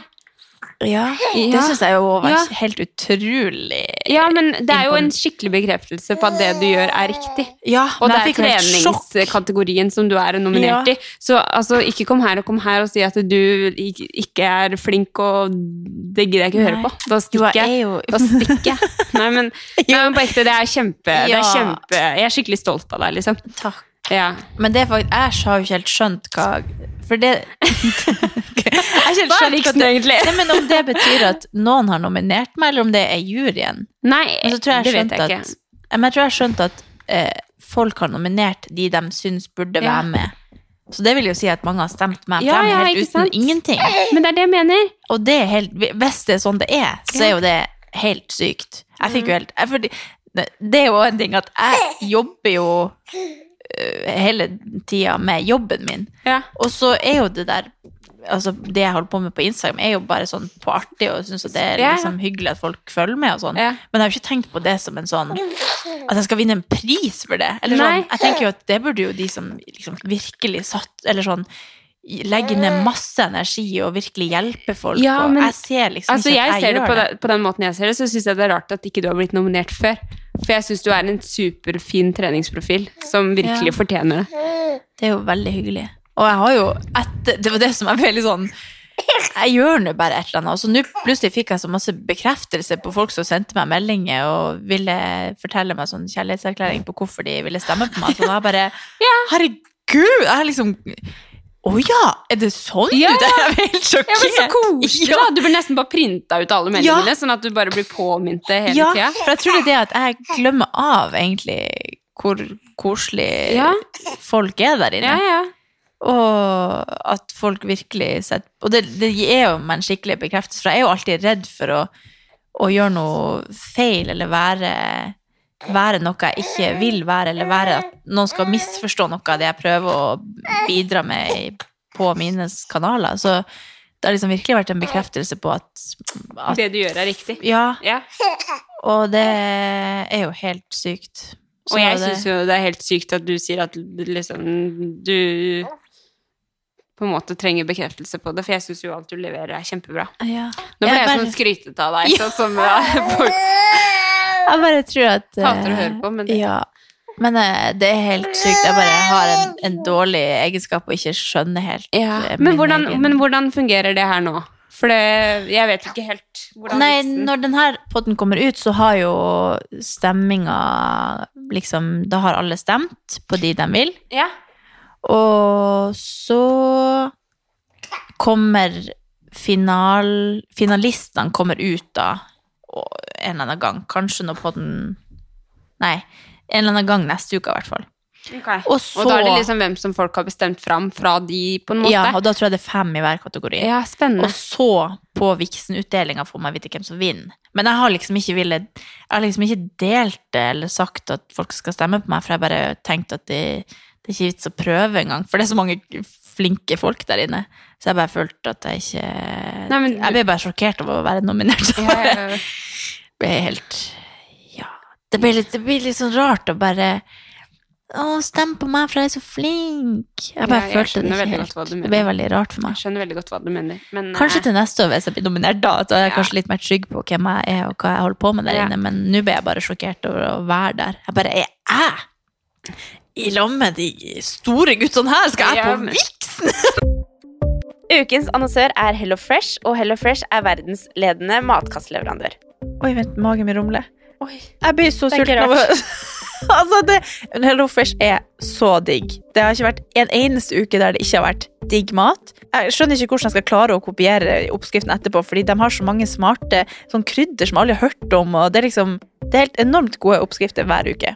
S1: Ja, det
S2: Ja.
S1: syns jeg jo var
S2: Ja.
S1: helt utrolig.
S2: Ja, men Eh, det er jo en skikkelig bekreftelse på at det du gjør, er riktig.
S1: Ja, men
S2: Og det
S1: jeg
S2: er
S1: fikk jo helt sjokk.
S2: treningskategorien som du er nominert
S1: Ja.
S2: i. Så altså, ikke kom her og kom her og si at du ik- ikke er flink, og det gidder jeg ikke å høre
S1: Nei.
S2: på. Da
S1: Jo,
S2: stikker
S1: jeg er
S2: jeg.
S1: jo
S2: Da stikker jeg. Nei, men, nei, men på ekte, det er kjempe, det er
S1: Ja.
S2: kjempe Jeg er skikkelig stolt av deg, liksom.
S1: Takk.
S2: Ja.
S1: Men det er faktisk, jeg har jo ikke helt skjønt hva For det Jeg har ikke helt
S2: Hva er
S1: skjønt
S2: Vixen egentlig?
S1: Nei, men om det betyr at noen har nominert meg, eller om det er juryen.
S2: Nei,
S1: Men så tror jeg jeg
S2: det vet
S1: skjønte
S2: jeg
S1: at,
S2: ikke.
S1: Ja, men jeg tror jeg skjønte at eh, folk har nominert de de syns burde
S2: Ja.
S1: være med. Så det vil jo si at mange har stemt meg
S2: Ja,
S1: frem
S2: ja,
S1: helt
S2: ikke
S1: uten
S2: sant?
S1: ingenting.
S2: Men det er det jeg mener.
S1: Og det er helt, hvis det er sånn det er, så er jo det helt sykt. Jeg fikk jo helt jeg, fordi, Det er jo en ting at jeg jobber jo øh, hele tida med jobben min.
S2: Ja.
S1: Og så er jo det der Altså, det jeg holder på med på Instagram, er jo bare sånn på artig, og syns at det er
S2: Ja, ja.
S1: liksom hyggelig at folk følger med og sånn.
S2: Ja.
S1: Men jeg har jo ikke tenkt på det som en sånn At jeg skal vinne en pris for det. Eller sånn,
S2: Nei.
S1: jeg tenker jo at det burde jo de som liksom virkelig satt Eller sånn legge ned masse energi og virkelig hjelpe folk.
S2: Ja, men-
S1: og jeg ser liksom
S2: Altså,
S1: ikke at
S2: jeg
S1: jeg,
S2: ser det
S1: gjør
S2: på,
S1: det.
S2: den, på den måten jeg ser det, så syns jeg det er rart at ikke du har blitt nominert før. For jeg syns du er en superfin treningsprofil som virkelig
S1: Ja.
S2: fortjener det.
S1: Det er jo veldig hyggelig. Og jeg har jo etter, Det var det som er veldig sånn Jeg gjør nå bare et eller annet. Og så nå plutselig fikk jeg så masse bekreftelse på folk som sendte meg meldinger og ville fortelle meg sånn kjærlighetserklæring på hvorfor de ville stemme på meg. Så da jeg bare Herregud! Jeg har liksom Å ja! Er det sånn?
S2: Ja,
S1: du- Jeg er helt
S2: Ja, men
S1: sjokkert.
S2: så koselig,
S1: Ja.
S2: da! Du blir nesten bare printa ut alle
S1: Ja.
S2: meldingene, sånn at du bare blir påminnet det hele
S1: Ja,
S2: tida.
S1: for jeg tror det er det at jeg glemmer av egentlig hvor koselig
S2: Ja.
S1: folk er der inne.
S2: Ja, ja.
S1: Og at folk virkelig setter Og det, det gir jo meg en skikkelig bekreftelse, for jeg er jo alltid redd for å, å gjøre noe feil eller være være noe jeg ikke vil være, eller være at noen skal misforstå noe av det jeg prøver å bidra med i- på mine kanaler. Så det har liksom virkelig vært en bekreftelse på at, at
S2: Det du gjør, er riktig.
S1: Ja,
S2: Ja.
S1: og det er jo helt sykt. Så
S2: Og jeg
S1: det-
S2: syns jo det er helt sykt at du sier at liksom du på en måte trenger bekreftelse på det, for jeg syns jo alt du leverer, er kjempebra.
S1: ja.
S2: Nå ble
S1: Jeg
S2: jeg
S1: bare-
S2: sånn skrytete av deg, sånn som eh, folk
S1: Jeg bare tror at eh,
S2: Hater å høre på, men det-
S1: Ja. Men eh, det er helt sykt. Jeg bare har en, en dårlig egenskap og ikke skjønner helt eh,
S2: Men
S1: min
S2: hvordan,
S1: egen-
S2: men hvordan fungerer det her nå? For det, jeg vet ikke helt hvordan
S1: Nei,
S2: vitsen-
S1: når denne podden kommer ut, så har jo stemminga liksom Da har alle stemt på de de vil.
S2: ja.
S1: Og så kommer final, finalistene kommer ut da og en eller annen gang. Kanskje nå på den Nei, en eller annen gang neste uke i hvert fall. Og så
S2: Og da er det liksom hvem som folk har bestemt fram fra de, på en måte.
S1: Ja, og da tror jeg det er fem i hver kategori.
S2: Ja, spennende.
S1: Og så, på Vixen-utdelinga, får man vite hvem som vinner. Men jeg har liksom ikke villet Jeg har liksom ikke delt det eller sagt at folk skal stemme på meg, for jeg har bare tenkt at det, det er ikke vits å prøve engang, for det er så mange flinke folk der inne. Så jeg bare følte at jeg ikke
S2: Nei, men-
S1: Jeg ble bare sjokkert over å være nominert.
S2: Ja, ja, ja.
S1: Det ble helt Ja. Det blir litt, det blir litt sånn rart å bare Å, stem på meg, for jeg er så flink. Jeg bare
S2: Ja, jeg
S1: følte det
S2: skjønner
S1: ikke
S2: veldig
S1: helt.
S2: godt hva du
S1: Det ble
S2: mener.
S1: veldig rart for meg.
S2: Jeg skjønner veldig godt hva du mener. Men,
S1: Kanskje
S2: eh,
S1: til neste år, hvis jeg blir nominert da. Da er jeg
S2: Ja.
S1: kanskje litt mer trygg på hvem jeg er og hva jeg holder på med der
S2: Ja.
S1: inne. Men nå ble jeg bare sjokkert over å være der. Jeg bare er jeg? I lag med de store guttene her skal jeg
S2: Ja,
S1: på
S2: men-
S1: Vixen!
S3: Ukens annonsør er Hello Fresh, og Hello Fresh er verdensledende matkastleverandør.
S1: Oi, vent, magen min rumler.
S3: Oi.
S1: Jeg blir så
S3: Det er ikke
S1: sulten av å- Altså, det men Hello Fresh er så digg. Det har ikke vært en eneste uke der det ikke har vært digg mat. Jeg skjønner ikke hvordan jeg skal klare å kopiere oppskriften etterpå, fordi de har så mange smarte sånn krydder som alle har hørt om, og det er liksom Det er helt enormt gode oppskrifter hver uke.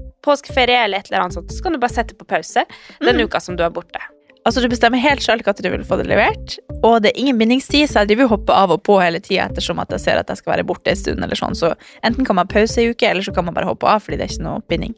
S3: påskeferie eller et eller annet sånt, så kan du bare sette på pause den uka som du er borte.
S1: Altså, du bestemmer helt selv hva du vil få det levert, og det er ingen bindingstid, så jeg driver og hopper av og på hele tida ettersom at jeg ser at jeg skal være borte en stund eller sånn, så enten kan man pause i uke, eller så kan man bare hoppe av fordi det er ikke noe binding.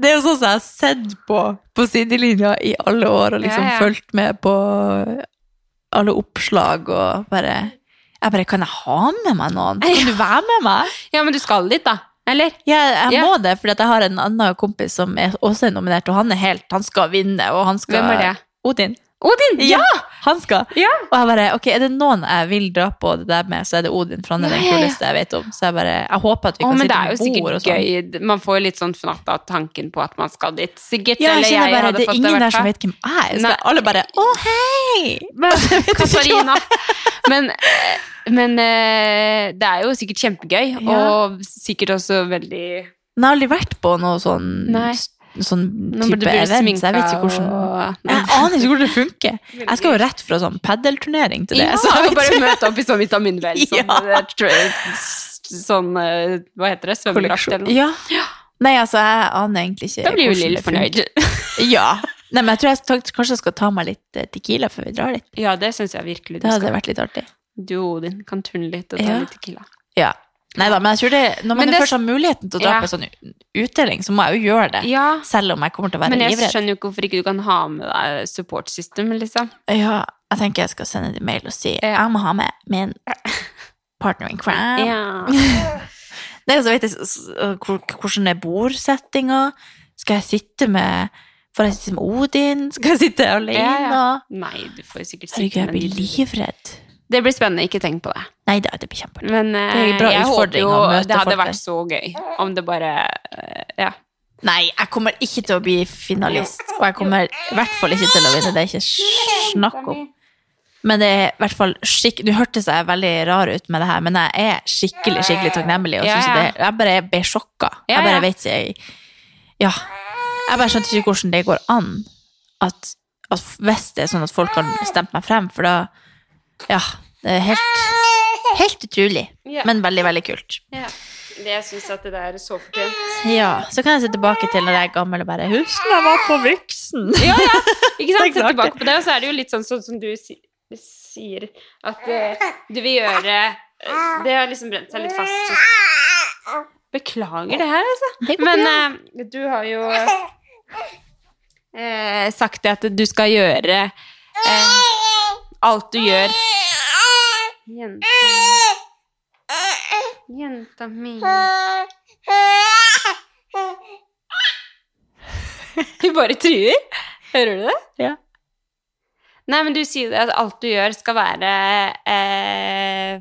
S1: Det er jo sånn som jeg har sett på på sidelinja i alle år, og liksom
S2: Ja, ja.
S1: fulgt med på alle oppslag og bare Jeg bare Kan jeg ha med meg noen? Kan du være med meg?
S2: ja, men du skal dit, da? Eller?
S1: Ja, jeg
S2: Ja.
S1: må det, fordi at jeg har en annen kompis som er også er nominert, og han er helt Han skal vinne, og han skal
S2: Hvem er det?
S1: Odin.
S2: Odin!
S1: Ja! Han skal.
S2: Ja.
S1: Og jeg bare, ok, er det noen jeg vil dra på det der med, så er det Odin, for han er
S2: Ja,
S1: den
S2: ja, ja.
S1: kuleste jeg vet om. Så jeg bare, jeg håper at vi
S2: Å,
S1: kan
S2: men det
S1: sitte
S2: er jo
S1: med bord og
S2: sikkert
S1: sånn.
S2: gøy. Man får jo litt sånn fnatt av tanken på at man skal dit. Sikkert.
S1: Ja, jeg
S2: eller
S1: kjenner bare,
S2: hadde
S1: det er
S2: fått
S1: ingen
S2: i hvert
S1: der som
S2: fall.
S1: vet hvem jeg er. Så
S2: Nei.
S1: alle bare, å hei!
S2: Katarina. Men, eh, men eh, det er jo sikkert kjempegøy,
S1: Ja.
S2: og sikkert også veldig
S1: Men jeg har aldri vært på noe sånn,
S2: Nei.
S1: sånn
S2: Nå
S1: type
S2: blir du
S1: event, så jeg vet
S2: sminka
S1: ikke hvordan...
S2: og
S1: Jeg aner ikke hvordan det funker. Jeg skal jo rett fra sånn paddelturnering til det.
S2: Ja,
S1: så jeg
S2: og
S1: vet
S2: bare møte opp i sånn vitaminvel. Sånn,
S1: Ja.
S2: tra- sånn eh, hva heter det? Svømmedrakt eller noe.
S1: Ja. Nei, altså, jeg aner egentlig ikke
S2: Da blir jo
S1: hvordan
S2: Lill
S1: det funker.
S2: fornøyd.
S1: Ja. Nei, men jeg tror jeg skal- kanskje jeg skal ta meg litt eh, tequila før vi drar dit.
S2: Ja, det syns jeg virkelig du
S1: Det hadde
S2: skal.
S1: vært litt artig.
S2: Du og Odin kan turne litt og ta
S1: Ja.
S2: litt tequila.
S1: Ja. Nei da, men jeg tror det, når
S2: Men
S1: man
S2: det-
S1: først har muligheten til å dra
S2: Ja.
S1: på sånn utdeling, så må jeg jo gjøre det.
S2: Ja,
S1: Selv om jeg kommer til å være
S2: men jeg
S1: livredd.
S2: skjønner jo ikke hvorfor ikke du kan ha med deg support system, liksom.
S1: Ja, jeg tenker jeg skal sende en mail og si jeg må ha med min partner in crime. Det er jo så vidt jeg s- s- hvor- hvordan er bordsettinga. Skal jeg sitte med Får jeg sitte med Odin? Skal jeg sitte alene?
S2: Ja, ja. Nei, du får jo sikkert
S1: Herregud,
S2: sitte
S1: jeg
S2: med
S1: blir
S2: en-
S1: livredd.
S2: Det blir spennende, ikke tenk på det.
S1: Nei da, det blir kjempeartig.
S2: Men eh,
S1: Det er en bra
S2: jeg håper
S1: utfordring
S2: jo
S1: å møte
S2: det hadde
S1: folk der.
S2: vært så gøy om det bare eh, Ja.
S1: Nei, jeg kommer ikke til å bli finalist. Og jeg kommer i hvert fall ikke til å vinne. Det er ikke snakk om. Men det er i hvert fall skikk... Nå hørtes jeg veldig rar ut med det her, men jeg er skikkelig skikkelig takknemlig. Og
S2: Ja,
S1: synes
S2: ja.
S1: det, jeg bare ble sjokka. Jeg
S2: Ja, ja.
S1: bare vet jeg, Ja. Jeg bare skjønte ikke hvordan det går an at, at hvis det er sånn at folk kan stempe meg frem, for da Ja. Det er helt, helt utrolig,
S2: Ja.
S1: men veldig, veldig kult.
S2: Det, jeg syns at det der er så fortjent.
S1: Ja, Så kan jeg se tilbake til når jeg er gammel og bare Husk da jeg var på Vuksen!
S2: Ikke
S1: Det er
S2: sant? Se
S1: klart
S2: tilbake på det, og så er det jo litt sånn, sånn som du si, sier at eh, du vil gjøre eh, Det har liksom brent seg litt fast. hos- Beklager det her, altså. Men eh, du har jo eh, sagt det at du skal gjøre eh, alt du gjør Jenta Jenta mi Hun bare truer. Hører du det?
S1: Ja.
S2: Nei, men du sier det at alt du gjør skal være eh,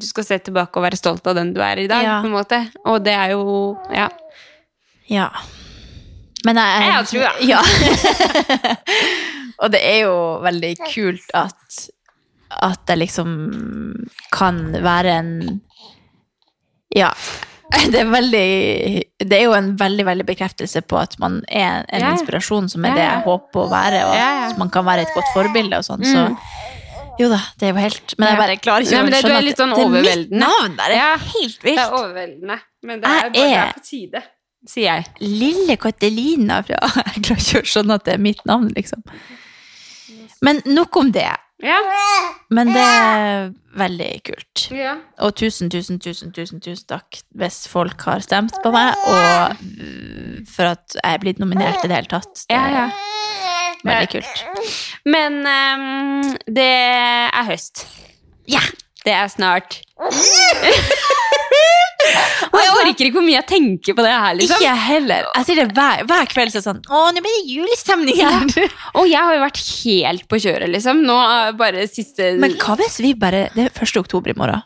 S2: Du skal se tilbake og være stolt av den du er i dag,
S1: Ja.
S2: på en måte. Og det er jo Ja.
S1: Ja. Men jeg
S2: Jeg har trua.
S1: Ja. og det er jo veldig kult at, at jeg liksom kan være en Ja. Det er, veldig, det er jo en veldig veldig bekreftelse på at man er en
S2: Ja.
S1: inspirasjon, som er
S2: Ja,
S1: det
S2: ja.
S1: jeg håper å være, og
S2: Ja, ja.
S1: at man kan være et godt forbilde og sånn. Så jo da, det er jo helt Men jeg
S2: Ja.
S1: bare klarer ikke
S2: Nei, men
S1: å
S2: det- du
S1: skjønne
S2: er litt sånn
S1: at det er mitt
S2: overveldende.
S1: navn der. Det
S2: Ja.
S1: er helt
S2: Det er
S1: vilt.
S2: overveldende, men det
S1: Jeg
S2: er bare det
S1: er-
S2: er på tide, sier jeg.
S1: Lille Katelina fra Jeg klarer ikke å skjønne at det er mitt navn, liksom. Men nok om det.
S2: Ja.
S1: Men det er veldig kult.
S2: ja.
S1: Og tusen, tusen, tusen, tusen, tusen takk hvis folk har stemt på meg, og mm, for at jeg er blitt nominert i det hele tatt. Det
S2: Ja,
S1: er
S2: ja.
S1: veldig kult.
S2: Men ehm, det er høst. Ja, det er snart. Og jeg orker ikke hvor mye jeg tenker på det her,
S1: Ikke
S2: liksom.
S1: jeg heller. Jeg sier det hver, hver kveld så er det sånn Å, nå blir det julestemning her!
S2: Og jeg har jo vært helt på kjøret, liksom. Nå eh, bare siste
S1: Men hva hvis vi bare Det er 1. oktober i morgen.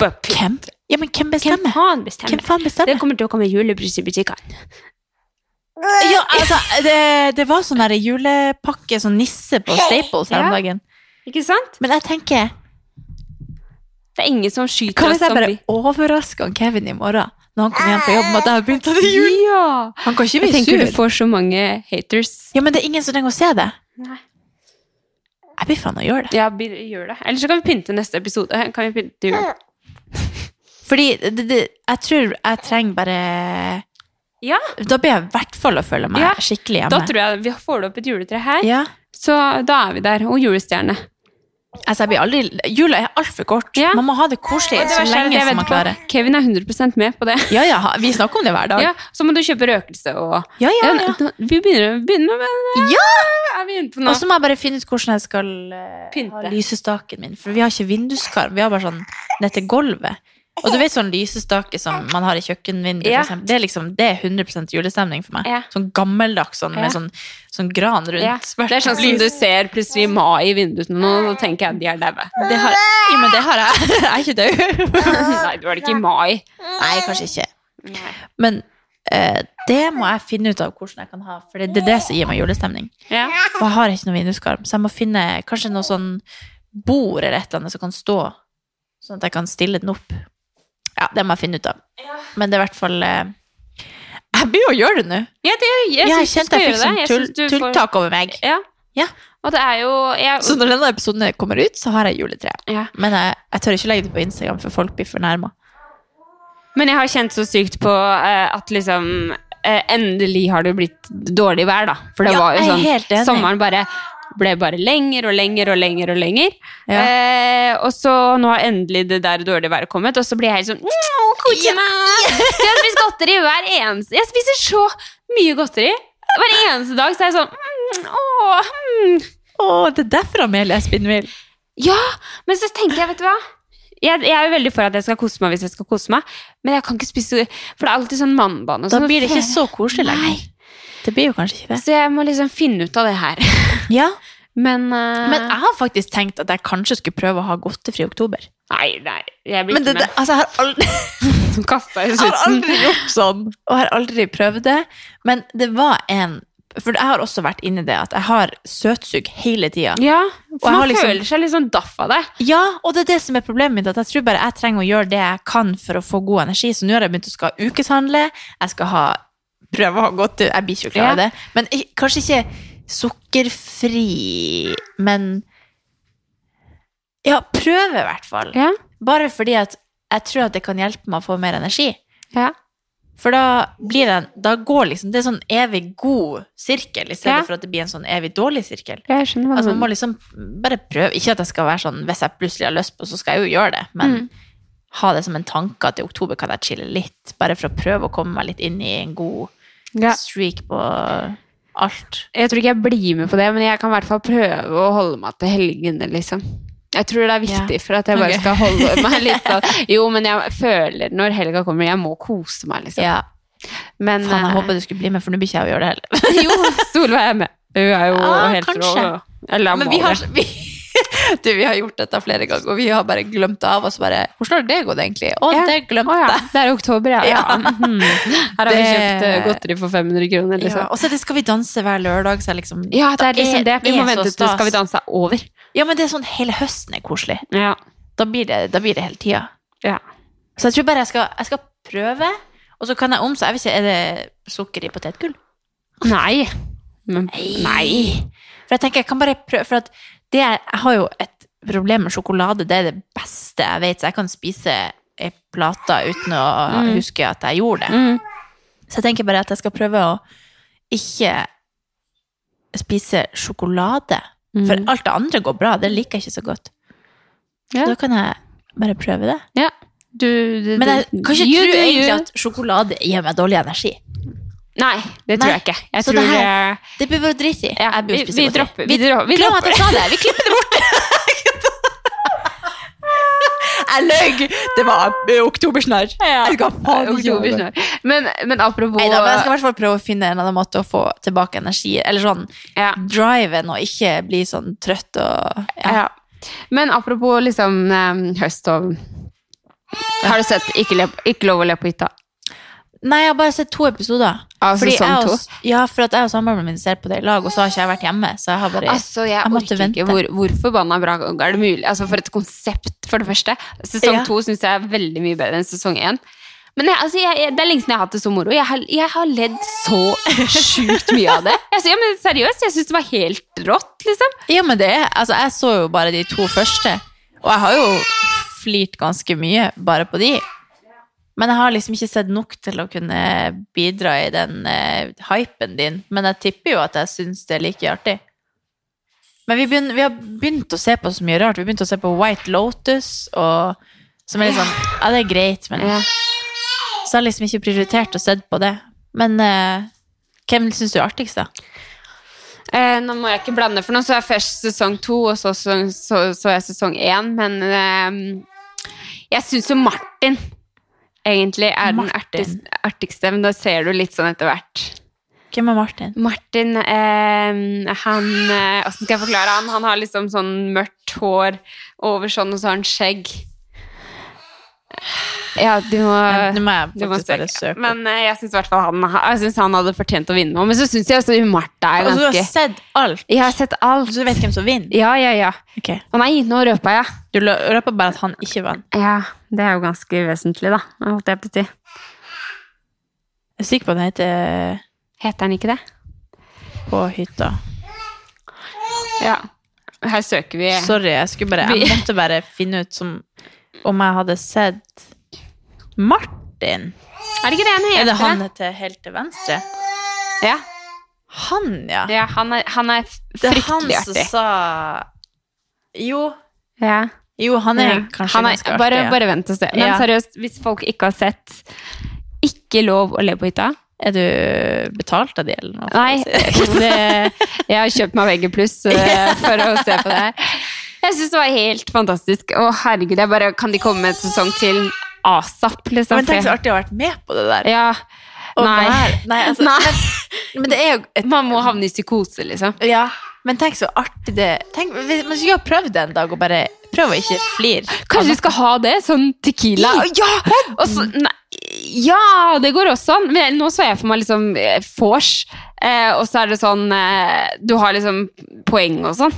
S1: Hvem? Ja, men hvem
S2: Hvem
S1: bestemmer? Hvem
S2: faen bestemmer?
S1: faen bestemmer?
S2: Det kommer til å komme julebrus i butikkene.
S1: Ja, altså, det, det var sånn her julepakke, sånn nisse på Staples her om
S2: Ja.
S1: dagen.
S2: Ikke sant?
S1: Men jeg tenker,
S2: Det er ingen som skyter
S1: hva hvis
S2: oss
S1: jeg
S2: som
S1: bare
S2: vi-
S1: overrasker han Kevin i morgen, når han kommer hjem fra jobb med at jeg har begynt å ta jul?
S2: Ja!
S1: Han kan ikke
S2: Jeg
S1: bli
S2: tenker du
S1: sur.
S2: får så mange haters.
S1: Ja, men det er ingen som trenger å se det.
S2: Nei.
S1: Jeg blir faen å gjøre det.
S2: Ja, bi- gjør det. Eller så kan vi pynte neste episode. Kan vi pynte jul?
S1: Fordi det, det, jeg tror jeg trenger bare...
S2: Ja.
S1: Da blir jeg i hvert fall å føle meg
S2: Ja,
S1: skikkelig hjemme.
S2: Da tror jeg vi får det opp et juletre her,
S1: Ja,
S2: så da er vi der. Og julestjerne.
S1: altså jeg blir aldri... Jula er alt for kort.
S2: Ja.
S1: Man må ha det koselig så lenge som man klarer.
S2: Kevin er 100 med på det.
S1: Ja, ja, vi snakker om det hver dag.
S2: Ja, så må du kjøpe røkelse og
S1: ja, ja. ja.
S2: Ja, Vi begynner, vi begynner med
S1: Ja!
S2: Er vi inne på noe?
S1: Og så må jeg bare finne ut hvordan jeg skal eh,
S2: Pynte.
S1: ha lysestaken min. For vi har ikke vinduskarm. Vi har bare sånn ned til gulvet. Og du vet sånn lysestake som man har i kjøkkenvinduet,
S2: Ja.
S1: for eksempel. Det er, liksom, det er 100 julestemning for meg.
S2: Ja.
S1: Sånn gammeldags sånn,
S2: Ja.
S1: med sånn, sånn gran rundt.
S2: ja. Det er sånn som du ser plutselig mai i vinduet nå, og da tenker jeg at de er daue.
S1: Det har, jo, men det har jeg. Jeg er ikke død.
S2: Nei, det var det ikke i mai.
S1: Nei, kanskje ikke. Men eh, det må jeg finne ut av hvordan jeg kan ha, for det det er det som gir meg julestemning.
S2: Ja.
S1: Og jeg har ikke noen vinduskarm, så jeg må finne kanskje noe sånn bord eller et eller annet som kan stå, sånn at jeg kan stille den opp. Ja, det må jeg finne ut av. Men det er i hvert fall eh, Jeg begynner å gjøre det nå.
S2: Ja, det,
S1: Jeg,
S2: jeg syns du
S1: kjente
S2: skal
S1: jeg fikk
S2: gjøre det.
S1: sånn
S2: Jeg
S1: tull,
S2: synes du får-
S1: tulltak over meg.
S2: Ja.
S1: Ja.
S2: Og det er jo jeg,
S1: Så når denne episoden kommer ut, så har jeg juletre.
S2: ja.
S1: Men jeg, jeg tør ikke legge det på Instagram, for folk blir fornærma.
S2: Men jeg har kjent så sykt på eh, at liksom eh, Endelig har det blitt dårlig vær, da. For det
S1: Ja,
S2: var jo
S1: jeg er
S2: sånn
S1: helt enig.
S2: Sommeren bare ble bare lenger og lenger og lenger og lenger.
S1: Ja.
S2: Eh, og så nå har endelig det der dårlige været kommet, og så blir jeg helt sånn «Nå, Kose meg! Så jeg spiser godteri hver eneste Jeg spiser så mye godteri. Hver eneste dag så er jeg sånn «Mm, Åh, mm.
S1: Å, det er derfor Amelie er spinnvill.
S2: Ja! Men så tenker jeg, vet du hva? Jeg, jeg er jo veldig for at jeg skal kose meg hvis jeg skal kose meg, men jeg kan ikke spise For det er alltid sånn mannbane. og
S1: Da
S2: sånn.
S1: blir det ikke så koselig lenger. Det blir jo kanskje ikke det.
S2: Så jeg må liksom finne ut av det her.
S1: Ja,
S2: Men, eh,
S1: Men jeg har faktisk tenkt at jeg kanskje skulle prøve å ha godtefri oktober.
S2: Nei, nei. Jeg blir
S1: Men
S2: ikke
S1: det, det,
S2: med.
S1: altså, jeg har aldri
S2: Som kasta i
S1: Jeg har
S2: slutten.
S1: aldri gjort sånn, og jeg har aldri prøvd det. Men det var en For jeg har også vært inni det at jeg har søtsug hele tida.
S2: Ja,
S1: Og jeg
S2: for
S1: har
S2: man
S1: liksom-
S2: føler seg litt sånn daff av det.
S1: Ja, og det er det som er problemet mitt, at jeg tror bare jeg trenger å gjøre det jeg kan for å få god energi. Så nå har jeg begynt å skal ukeshandle, jeg skal ha, prøve å ha godt Jeg blir ikke klar av
S2: Ja.
S1: det. Men i- kanskje ikke sukkerfri, men Ja, prøve i hvert fall.
S2: Ja.
S1: Bare fordi at jeg tror at det kan hjelpe meg å få mer energi.
S2: Ja.
S1: For da blir det, en- da går liksom, det er sånn evig god sirkel, i stedet
S2: Ja. Mhm.
S1: for at det blir en sånn evig dårlig sirkel.
S2: Jeg skjønner hva
S1: Altså,
S2: du
S1: man må liksom bare prøve. Ikke at jeg skal være sånn, hvis jeg plutselig har lyst på, så skal jeg jo gjøre det, men
S2: Mhm.
S1: ha det som en tanke at i oktober kan jeg chille litt, bare for å prøve å komme meg litt inn i en god liksom
S2: Ja.
S1: streak på alt.
S2: Jeg tror ikke jeg blir med på det, men jeg kan i hvert fall prøve å holde meg til helgene, liksom. Jeg tror det er viktig for at jeg bare
S1: Ok.
S2: skal holde meg litt sånn Jo, men jeg føler når helga kommer, jeg må kose meg, liksom.
S1: Ja,
S2: Men
S1: faen, jeg
S2: eh,
S1: håper du skulle bli med, for nå blir ikke jeg å gjøre det heller.
S2: Jo, Solveig er med. Hun er jo
S1: Ah,
S2: helt rå.
S1: kanskje.
S2: Eller
S1: Men vi har,
S2: Amalie.
S1: vi, du, vi har gjort dette flere ganger, og vi har bare glemt av oss bare, hvordan har det gått egentlig? Å,
S2: Ja.
S1: det glemte
S2: Å ja,
S1: jeg.
S2: det er oktober, ja. ja.
S1: Ja.
S2: mhm. Her har vi
S1: Det-
S2: kjøpt eh, godteri for 500 kroner,
S1: Ja,
S2: liksom.
S1: og så det skal vi danse hver lørdag, så jeg liksom
S2: Ja, det er liksom det. Vi må
S1: er så
S2: vente til
S1: stas.
S2: Skal vi danse er over.
S1: Ja, men det er sånn hele høsten er koselig.
S2: Ja.
S1: Da blir det, da blir det hele tida.
S2: Ja.
S1: Så jeg tror bare jeg skal, jeg skal prøve, og så kan jeg om, så jeg vet ikke, er det sukker i potetgull?
S2: Nei. Men,
S1: For jeg tenker, jeg kan bare prøve, for at det er, jeg har jo et problem med sjokolade, det er det beste jeg vet, så jeg kan spise ei plate uten å
S2: Mm.
S1: huske at jeg gjorde det.
S2: Mm.
S1: Så jeg tenker bare at jeg skal prøve å ikke spise sjokolade. For
S2: Mm.
S1: alt det andre går bra, det liker jeg ikke så godt.
S2: Ja.
S1: Så da kan jeg bare prøve det.
S2: Ja. Du, du,
S1: Men jeg
S2: du-
S1: kan ikke
S2: You
S1: tro
S2: do you.
S1: egentlig at sjokolade gir meg dårlig energi.
S2: Nei, det tror
S1: Nei.
S2: jeg ikke. Jeg
S1: Så
S2: tror
S1: det her-
S2: eh,
S1: Det bør vi bare drite i.
S2: ja,
S1: Jeg bør
S2: vi,
S1: jo spise
S2: vi
S1: godteri.
S2: dropper Vi, dro- vi
S1: Glem
S2: dropper
S1: at jeg sa det! Vi klipper det bort! jeg løy! Det var oktobersnarr. Jeg skal faen ikke gjøre det.
S2: det. Men, men apropos
S1: Neida, men jeg skal i hvert fall prøve å finne en eller annen måte å få tilbake energi, eller sånn
S2: ja.
S1: driven, og ikke bli sånn trøtt og
S2: Ja. Men apropos liksom eh, høst og Har du sett Ikke, le, ikke lov å le på hytta?
S1: Nei, jeg har bare sett to episoder.
S2: Av
S1: Fordi
S2: sesong
S1: jeg og-
S2: to?
S1: Ja, for at jeg og samboeren min ser på det i lag, og så har ikke jeg vært hjemme. Så jeg har bare
S2: Altså, jeg,
S1: jeg måtte
S2: orker
S1: vente.
S2: ikke. Hvor, hvor forbanna bra er det mulig? Altså, For et konsept, for det første. Sesong
S1: Ja.
S2: to syns jeg er veldig mye bedre enn sesong én. Men jeg, altså, jeg, jeg, det er lenge siden jeg har hatt det så moro. Jeg har, jeg har ledd så sjukt mye av det. Altså, ja, men Seriøst, jeg syns det var helt rått, liksom.
S1: Ja, men det er Altså, jeg så jo bare de to første, og jeg har jo flirt ganske mye bare på de. Men jeg har liksom ikke sett nok til å kunne bidra i den eh, hypen din. Men jeg tipper jo at jeg syns det er like artig. Men vi, begynner, vi har begynt å se på så mye rart. Vi begynte å se på White Lotus, og, som er litt sånn Ja, det er greit, men Så jeg har liksom ikke prioritert å se på det. Men eh, hvem syns du er artigst, da?
S2: Eh, nå må jeg ikke blande, for nå så jeg først sesong to, og så så, så, så jeg sesong én. Men eh, jeg syns jo Martin egentlig er
S1: Martin.
S2: den artigste, artigste, men da ser du litt sånn etter hvert.
S1: Hvem er Martin?
S2: Martin, eh, han eh, Hvordan skal jeg forklare han? Han har liksom sånn mørkt hår over sånn, og så har han skjegg. Ja, du må
S1: Vent, Nå må jeg
S2: du må
S1: faktisk bare
S2: søke.
S1: søke.
S2: Men eh, jeg syns i hvert fall han, jeg synes han hadde fortjent å vinne. nå, Men så syns jeg også Martha er
S1: Og Altså, du har
S2: ganske
S1: sett alt,
S2: Jeg har sett alt.
S1: så du vet hvem som vinner?
S2: Ja, ja, ja.
S1: Ok.
S2: Å nei, nå røpa jeg.
S1: Du lø- røper bare at han ikke vant.
S2: Ja, det er jo ganske uvesentlig, da. Holdt jeg på å si.
S1: Jeg er sikker på at han heter eh,
S2: Heter han ikke det?
S1: På hytta.
S2: Ja. Her søker vi
S1: Sorry, jeg skulle bare Jeg
S2: Vi-
S1: måtte bare finne ut som om jeg hadde sett Martin.
S2: Er det ikke det han heter?
S1: Er det han til helt til venstre?
S2: Ja.
S1: Han, ja.
S2: Ja, han er, han er
S1: Det er han
S2: fryktelig
S1: som
S2: artig.
S1: sa Jo.
S2: Ja.
S1: Jo, han er
S2: Ja.
S1: kanskje
S2: Han er-
S1: ganske artig.
S2: bare,
S1: ja.
S2: bare vent og se. Men
S1: Ja.
S2: seriøst, hvis folk ikke har sett Ikke lov å le på hytta
S1: Er du betalt av de, eller noe?
S2: Nei, det, jeg har kjøpt meg VG+, eh, for å se på det her. Jeg synes det var helt fantastisk. Å, herregud, jeg bare, kan de komme med en sesong til ASAP, liksom?
S1: Men tenk så
S2: For jeg-
S1: artig å ha vært med på det der.
S2: Ja,
S1: Og
S2: nei.
S1: være- nei, altså,
S2: Nei.
S1: Men, men det er jo et
S2: Man må havne i psykose, liksom.
S1: Ja, men tenk så artig det tenk, hvis- Man skulle ha prøvd det en dag og bare prøv å ikke flire.
S2: Kanskje vi skal ha det? Sånn tequila? Altså- Ja! Og så, nei, ja, det går også an. Men nå så jeg for meg liksom eh, vors, eh, og så er det sånn eh, Du har liksom poeng og sånn.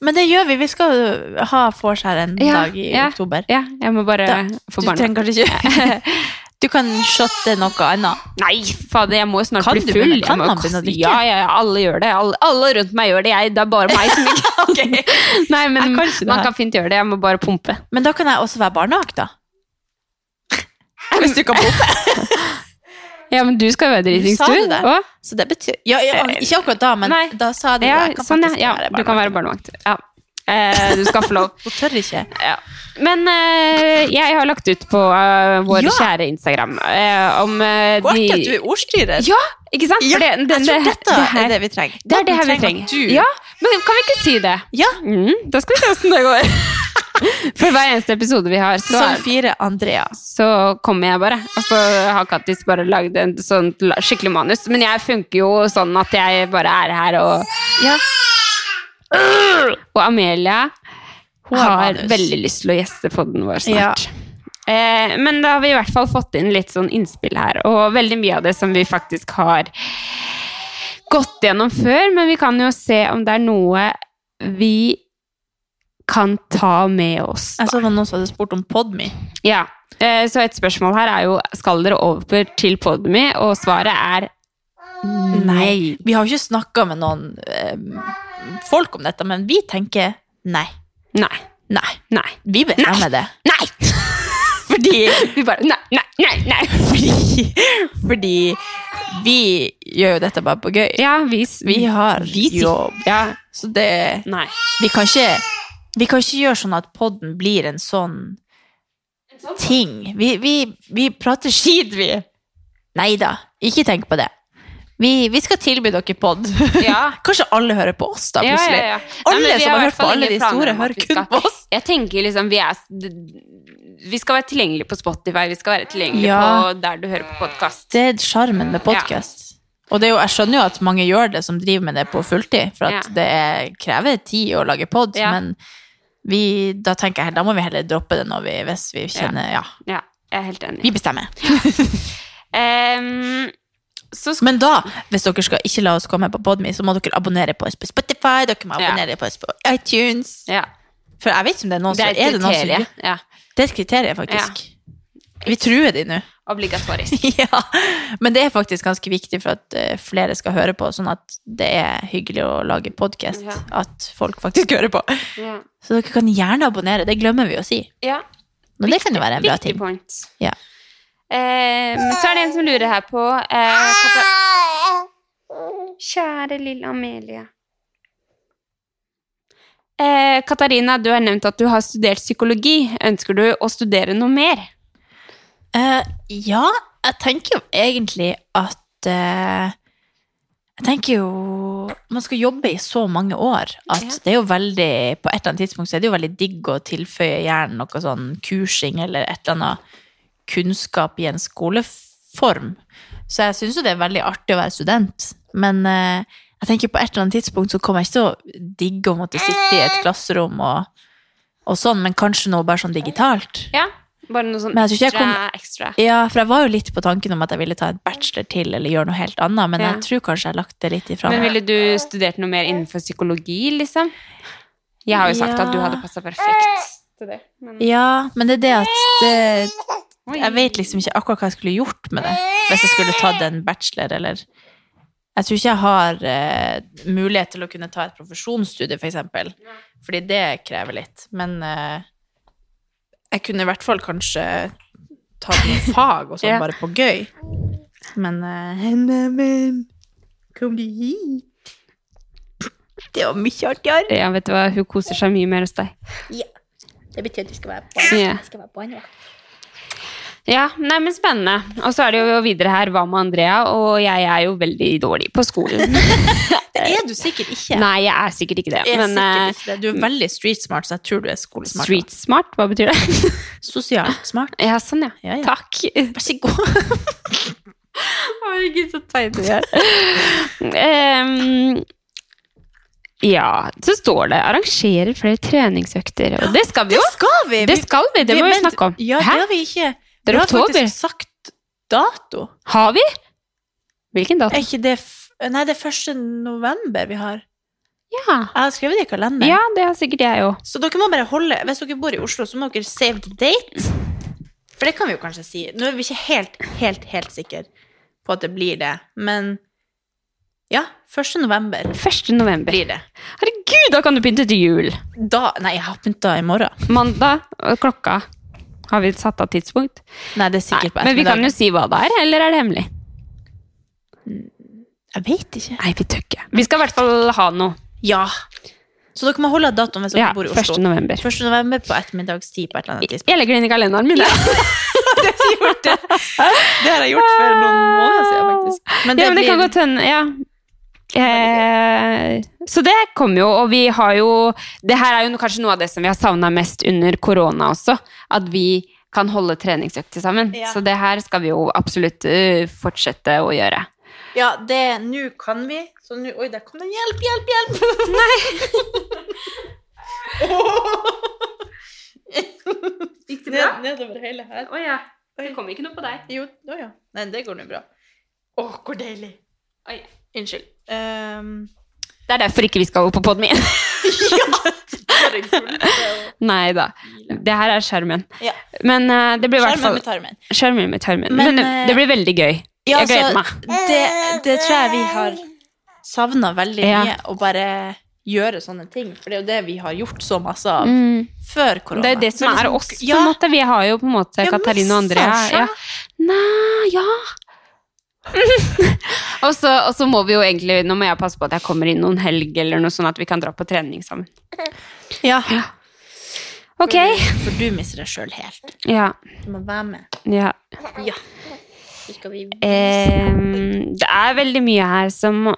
S1: Men det gjør vi. Vi skal jo ha vors her en
S2: Ja,
S1: dag i
S2: ja,
S1: oktober.
S2: Ja, jeg må bare
S1: Da-
S2: få
S1: du
S2: barna.
S1: trenger kanskje ikke Du kan shotte noe annet.
S2: Nei, fader, jeg må jo snart
S1: Kan
S2: bli
S1: du
S2: full.
S1: begynne- kan
S2: Jeg må jo
S1: man begynne å
S2: kaste-
S1: drikke?
S2: Ja, ja, ja, alle gjør det. Alle, alle rundt meg gjør det. Jeg, det er bare meg som ikke Nei, men
S1: Jeg kan ikke det
S2: man
S1: her.
S2: kan fint gjøre det. Jeg må bare pumpe.
S1: Men da kan jeg også være barnevakt, da. Hvis du kan bo
S2: Ja, men du skal jo være dritings,
S1: Sa
S2: du.
S1: du det?
S2: Å,
S1: Så det betyr ja, ja, Ikke akkurat da, men
S2: Eh, Nei.
S1: da sa du
S2: Ja,
S1: jeg kan
S2: sånn, ja.
S1: faktisk
S2: ja.
S1: være
S2: Du kan være
S1: barnevakt.
S2: barnevakt. Ja. Eh, du skal få lov.
S1: Hun tør ikke.
S2: Ja. Men eh, jeg har lagt ut på eh, vår
S1: Ja.
S2: kjære Instagram eh, om eh,
S1: Hvor artig
S2: de
S1: at du er ordstyrer.
S2: Ja, ikke sant? For det- den-
S1: jeg tror
S2: det-
S1: dette
S2: det her-
S1: er det vi trenger.
S2: det er det
S1: Podden
S2: her vi trenger.
S1: at Du,
S2: Ja, men kan vi ikke si det?
S1: Ja.
S2: Mm, da skal vi se åssen det går. For hver eneste episode vi har, så,
S1: Sesong fire, Andrea.
S2: så kommer jeg bare. Og så har Kattis bare lagd en sånn la- skikkelig manus. Men jeg funker jo sånn at jeg bare er her og
S1: Ja.
S2: Og Amelia
S1: har
S2: har
S1: manus.
S2: veldig lyst til å gjeste podden vår snart. Eh, men da har vi i hvert fall fått inn litt sånn innspill her, og veldig mye av det som vi faktisk har gått gjennom før, men vi kan jo se om det er noe vi kan ta med oss.
S1: Jeg så det var noen som hadde spurt om Podme.
S2: Ja, eh, så et spørsmål her er jo, skal dere over til Podme? Og svaret er nei.
S1: Vi har jo ikke snakka med noen eh, folk om dette, men vi tenker nei.
S2: Nei,
S1: Nei.
S2: nei,
S1: Vi bestemmer det.
S2: nei!
S1: Fordi,
S2: Vi bare, nei, nei, nei, nei.
S1: fordi, fordi vi gjør jo dette bare på gøy.
S2: Ja, vi, s-
S1: Vi har
S2: sit-
S1: jobb.
S2: Ja,
S1: Så det
S2: nei.
S1: Vi kan ikke, vi kan ikke gjøre sånn at podden blir en sånn
S2: sånn
S1: ting. Vi, vi, vi prater skit, vi. Nei da, ikke tenk på det. Vi, vi skal tilby dere pod.
S2: Ja.
S1: Kanskje alle hører på oss, da,
S2: Ja,
S1: plutselig.
S2: ja, ja.
S1: Alle
S2: Nei, men vi
S1: som har
S2: i
S1: hørt
S2: hvert fall
S1: på alle de
S2: ingen planer
S1: store,
S2: om at
S1: hører
S2: vi
S1: kun
S2: skal-
S1: på oss.
S2: Jeg tenker liksom, vi er Vi skal være tilgjengelige på Spotify, vi skal være tilgjengelige
S1: Ja.
S2: på der du hører på podkast.
S1: Det er sjarmen med podkast. Og det er jo, jeg skjønner jo at mange gjør det, som driver med det på fulltid, for at
S2: Ja.
S1: det er, krever tid å lage pod,
S2: Ja.
S1: men vi, da tenker jeg, da må vi heller droppe det når vi, hvis vi kjenner Ja,
S2: Ja, jeg er helt enig.
S1: vi bestemmer.
S2: Ehm, så skal
S1: Men da, hvis dere skal ikke la oss komme på Podme, så må dere abonnere på oss på Spotify, dere må
S2: Ja.
S1: abonnere på oss på iTunes.
S2: ja,
S1: For jeg vet ikke om det Altså, er noen
S2: Det er
S1: som
S2: et
S1: noen som-
S2: kriterium. Ja,
S1: Det er et kriterium, faktisk. Vi truer de nå.
S2: obligatorisk.
S1: ja. Men det er faktisk ganske viktig for at eh, flere skal høre på, sånn at det er hyggelig å lage podkast.
S2: Ja.
S1: At folk faktisk hører på.
S2: Ja.
S1: Så dere kan gjerne abonnere, det glemmer vi å si.
S2: ja.
S1: Men det kan jo være en bra
S2: Viktig
S1: ting.
S2: point.
S1: Ja.
S2: Ehm, så er det en som lurer her på eh, Kata- Kjære lille Amelie. Eh, Katarina, du har nevnt at du har studert psykologi. Ønsker du å studere noe mer?
S1: Eh, ja, jeg tenker jo egentlig at eh, Jeg tenker jo Man skal jobbe i så mange år at
S2: Ja.
S1: det er jo veldig På et eller annet tidspunkt så er det jo veldig digg å tilføye hjernen noe sånn kursing eller et eller annet kunnskap i en skoleform. Så jeg syns jo det er veldig artig å være student. Men eh, jeg tenker på et eller annet tidspunkt så kommer jeg ikke til å digge å måtte sitte i et klasserom og, og sånn, men kanskje noe bare sånn digitalt.
S2: Ja, bare noe sånn
S1: Men jeg tror ikke jeg
S2: ekstra,
S1: kom-
S2: ekstra.
S1: Ja, for jeg var jo litt på tanken om at jeg ville ta en bachelor til, eller gjøre noe helt annet, men
S2: Ja.
S1: jeg tror kanskje jeg har lagt det litt ifra
S2: Men
S1: meg.
S2: ville du studert noe mer innenfor psykologi, liksom? Jeg har jo sagt
S1: Ja.
S2: at du hadde passa perfekt til det. Men...
S1: Ja, men det er det at det,
S2: Oi.
S1: Jeg vet liksom ikke akkurat hva jeg skulle gjort med det, hvis jeg skulle tatt en bachelor, eller Jeg tror ikke jeg har eh, mulighet til å kunne ta et profesjonsstudie, for eksempel, fordi det krever litt, men eh, jeg kunne i hvert fall kanskje tatt noen fag og sånn,
S2: Ja.
S1: bare på gøy. Men eh, Henna, men, kom du hit? Det var mye artigere.
S2: Ja, vet du hva, hun koser seg mye mer hos deg.
S1: Det betyr at du skal være
S2: Ja.
S1: du skal være på en vakt.
S2: Ja, nei, men spennende. Og så er det jo videre her, hva med Andrea? Og jeg er jo veldig dårlig på skolen.
S1: Det er du sikkert ikke.
S2: nei, jeg er sikkert ikke det.
S1: Jeg er
S2: Men eh,
S1: sikkert ikke det. Du er veldig street smart, så jeg tror du er skolesmart.
S2: street smart, hva betyr det?
S1: Sosialt smart.
S2: ja, sånn ja.
S1: Ja, ja.
S2: Takk.
S1: Vær så god.
S2: Herregud, så teite vi er. Em, ja, så står det 'arrangerer flere treningsøkter'. Og det skal vi jo.
S1: skal vi!
S2: Det skal vi, det må vi snakke om.
S1: Ja, det
S2: Hæ?
S1: har vi ikke.
S2: Det er
S1: vi har
S2: oktober.
S1: faktisk sagt dato.
S2: Har vi? Hvilken dato?
S1: Er ikke det f Nei, det er 1. november vi har.
S2: Ja.
S1: Jeg har skrevet det i kalenderen.
S2: ja, det har sikkert jeg òg.
S1: Så dere må bare holde Hvis dere bor i Oslo, så må dere save the date. For det kan vi jo kanskje si. Nå er vi ikke helt, helt, helt sikre på at det blir det, men ja, 1. november
S2: 1. november.
S1: blir det.
S2: Herregud, da kan du pynte til jul!
S1: Da Nei, jeg har pynta i morgen.
S2: Mandag ø, klokka. Har vi satt av tidspunkt?
S1: Nei, det er
S2: Nei,
S1: sikkert på
S2: men vi kan jo
S1: ettermiddagen.
S2: si hva det er, eller er det hemmelig?
S1: Jeg vet ikke.
S2: Nei, vi tør ikke. Vi skal i hvert fall ha noe.
S1: Ja. Så dere må holde av datoen hvis dere
S2: Ja,
S1: bor i Oslo.
S2: 1. november.
S1: 1. november på ettermiddagstid på et eller annet tidspunkt.
S2: Jeg legger den inn i kalenderen min. jeg.
S1: Det har jeg gjort for noen måneder siden, faktisk. Men det,
S2: ja, men det kan
S1: blir
S2: godt hende, ja. Eh, så det kom jo, og vi har jo Det her er jo kanskje noe av det som vi har savna mest under korona også. At vi kan holde treningsøkter sammen.
S1: Ja.
S2: Så det her skal vi jo absolutt eh, fortsette å gjøre.
S1: Ja, det Nå kan vi. Så nå Oi, der kom den. Hjelp, hjelp, hjelp! Nei. Gikk det bra? Ned, nedover hele her.
S2: Å ja. Det kom ikke noe på deg.
S1: Jo, å ja. Nei, det går nå bra. Å, hvor deilig.
S2: Oi.
S1: Unnskyld. Ehm,
S2: Det er derfor ikke vi skal opp på podden min.
S1: bare gull, det er jo-
S2: Nei da. Det her er skjermen.
S1: Ja.
S2: Men eh, det blir i hvert
S1: Skjermen
S2: fall
S1: med tarmen.
S2: Skjermen med tarmen.
S1: Men,
S2: Men,
S1: eh,
S2: det blir veldig gøy.
S1: Ja,
S2: Jeg gleder
S1: altså,
S2: meg.
S1: Det, det tror jeg vi har savna veldig
S2: Ja.
S1: mye, å bare gjøre sånne ting. For det er jo det vi har gjort så masse av
S2: Mm.
S1: før korona.
S2: Det er jo det som
S1: Men
S2: er
S1: liksom-
S2: oss, på en
S1: Ja,
S2: måte. Vi har jo på en måte
S1: Ja,
S2: Katarina og Andrea.
S1: massasje.
S2: Ja. Nei, ja og, så, og så må vi jo egentlig Nå må jeg passe på at jeg kommer inn noen helg, eller noe sånn at vi kan dra på trening sammen.
S1: ja.
S2: Ok.
S1: For du mister deg sjøl helt.
S2: Ja.
S1: Du må være med.
S2: ja.
S1: Ja. Så skal vi
S2: Eh, det er veldig mye her som,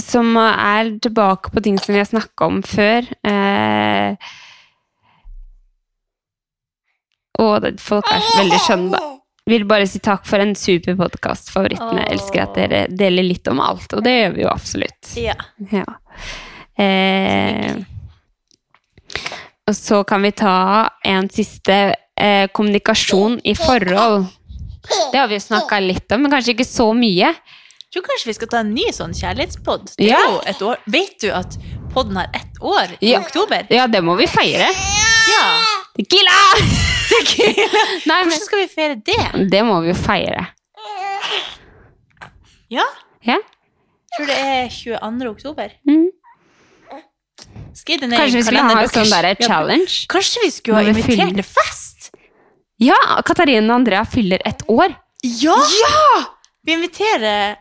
S2: som er tilbake på ting som vi har snakka om før. Eh, og det, folk er veldig skjønne, da. Vil bare si takk for en super podkast. Favorittene
S1: Åh.
S2: elsker at dere deler litt om alt, og det gjør vi jo absolutt.
S1: Ja.
S2: Ja. Eh, og så kan vi ta en siste eh, kommunikasjon i forhold. Det har vi jo snakka litt om, men kanskje ikke så mye.
S1: Jeg tror kanskje vi skal ta en ny sånn kjærlighetspod. Det er
S2: Ja.
S1: jo et år. Vet du at podden har ett år i
S2: Ja.
S1: oktober?
S2: Ja, det må vi feire.
S1: Ja!
S2: Tequila! Nei,
S1: Hvordan skal vi feire det?
S2: men det må vi jo feire.
S1: Ja,
S2: Ja?
S1: jeg tror det er 22. oktober.
S2: Mm.
S1: Skriv det ned i
S2: Kanskje vi skulle ha en
S1: kalenderen
S2: sånn der
S1: deres. Ja,
S2: challenge?
S1: Kanskje vi skulle ha
S2: Når vi
S1: invitert
S2: fyller-
S1: til fest?
S2: Ja, Katarina og Andrea fyller ett år.
S1: Ja! Vi inviterer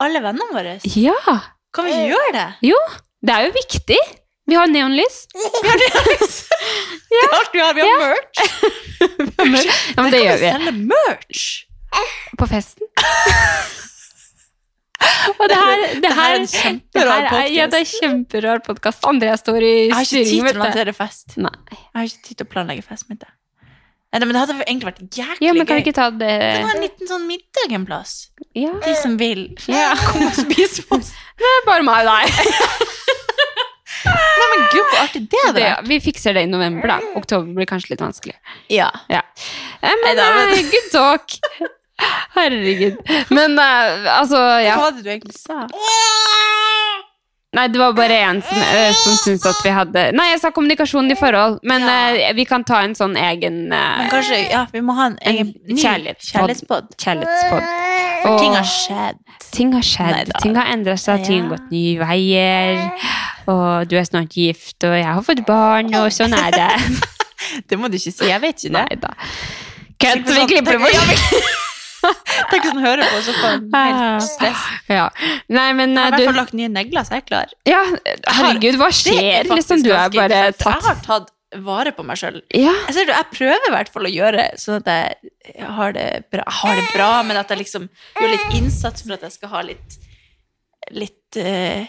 S1: alle vennene våre.
S2: Ja!
S1: Kan vi
S2: Eh.
S1: ikke gjøre det?
S2: Jo, det er jo viktig. Vi har neonlys.
S1: Det er alt vi har. Vi har merch.
S2: Ja, men det gjør vi.
S1: Selge merch.
S2: På festen. Og det her, det
S1: Det her er
S2: her,
S1: en
S2: det
S1: kjemperar
S2: her er, ja, det er kjemperar podkast. Andrea står i
S1: Jeg har ikke tid til
S2: styring,
S1: å
S2: vet du.
S1: lansere fest.
S2: Nei.
S1: Jeg har ikke tid til å planlegge fest. Mitt. Nei, men det hadde egentlig vært jæklig
S2: Ja, men kan vi
S1: gøy.
S2: ikke ta det
S1: Vi kan ha en liten sånn middag en plass.
S2: Ja.
S1: De som vil.
S2: Ja.
S1: Kom og spis med oss.
S2: Det er bare meg og deg.
S1: Nei, men gud, hvor artig det hadde
S2: Det,
S1: vært.
S2: vi fikser det i november, da. Oktober blir kanskje litt vanskelig.
S1: Ja.
S2: Ja. Eh, Men
S1: Neida, men-
S2: eh, good talk. Herregud. Men eh, altså, ja.
S1: Hva var det du egentlig sa?
S2: Nei, det var bare en som, eh, som syntes at vi hadde Nei, jeg sa kommunikasjon i forhold, men eh, vi kan ta en sånn egen
S1: Men
S2: eh,
S1: kanskje, ja, vi må ha en egen ny
S2: kjærlighetspodd.
S1: kjærlighetspodd.
S2: kjærlighetspodd. Og
S1: For ting har skjedd.
S2: ting har skjedd,
S1: Neida.
S2: ting har endret seg, ting har
S1: Ja.
S2: gått nye veier, og du er snart gift, og jeg har fått barn, og sånn er det.
S1: Det må du ikke si. Jeg vet ikke det. sånn.
S2: Neida. Kødd, vi klipper det bort.
S1: Tenk hvis den hører på, så får den helt stress.
S2: Ja. Ah. Nei, men
S1: Jeg har i
S2: eh,
S1: hvert
S2: du
S1: fall lagt nye negler, så jeg er klar.
S2: Ja, herregud, hva
S1: Det er
S2: skjer?
S1: faktisk
S2: Liksom, du er
S1: ganske
S2: bare
S1: interessant, for Jeg
S2: tatt
S1: har tatt vare på meg sjøl.
S2: Ja.
S1: Jeg, ser det, jeg prøver i hvert fall å gjøre sånn at jeg har det bra, jeg har det bra men at jeg liksom gjør litt innsats for at jeg skal ha litt litt eh,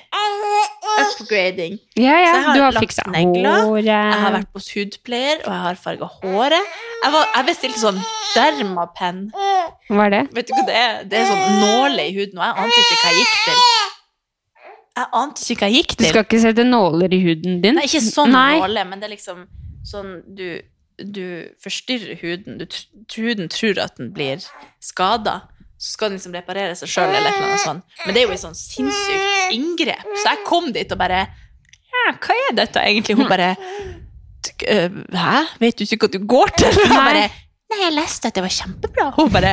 S1: upgrading.
S2: Ja, ja,
S1: Så jeg har
S2: du har
S1: lagt
S2: fiksa
S1: negler.
S2: håret.
S1: Jeg har vært hos hudpleier, og jeg har farga håret. Jeg, var, jeg bestilte sånn dermapenn.
S2: Hva er det?
S1: Vet du hva det er? Det er sånn nåle i huden, og jeg ante ikke hva jeg gikk til. Jeg ante ikke hva jeg gikk
S2: Du
S1: til.
S2: skal ikke sette nåler i huden din?
S1: Nei, ikke sånn
S2: Nei.
S1: nåle, men det er liksom sånn du, du forstyrrer huden. Du, tr- huden tror at den blir skada. Så skal den liksom reparere seg sjøl, eller et eller annet sånt. Men det er jo et sånn sinnssykt inngrep. Så jeg kom dit og bare ja, Hva er dette egentlig? Hun bare «T- øh, Hæ? Vet du ikke hva du går til? Jeg bare Nei, jeg leste at det var kjempebra. Hun bare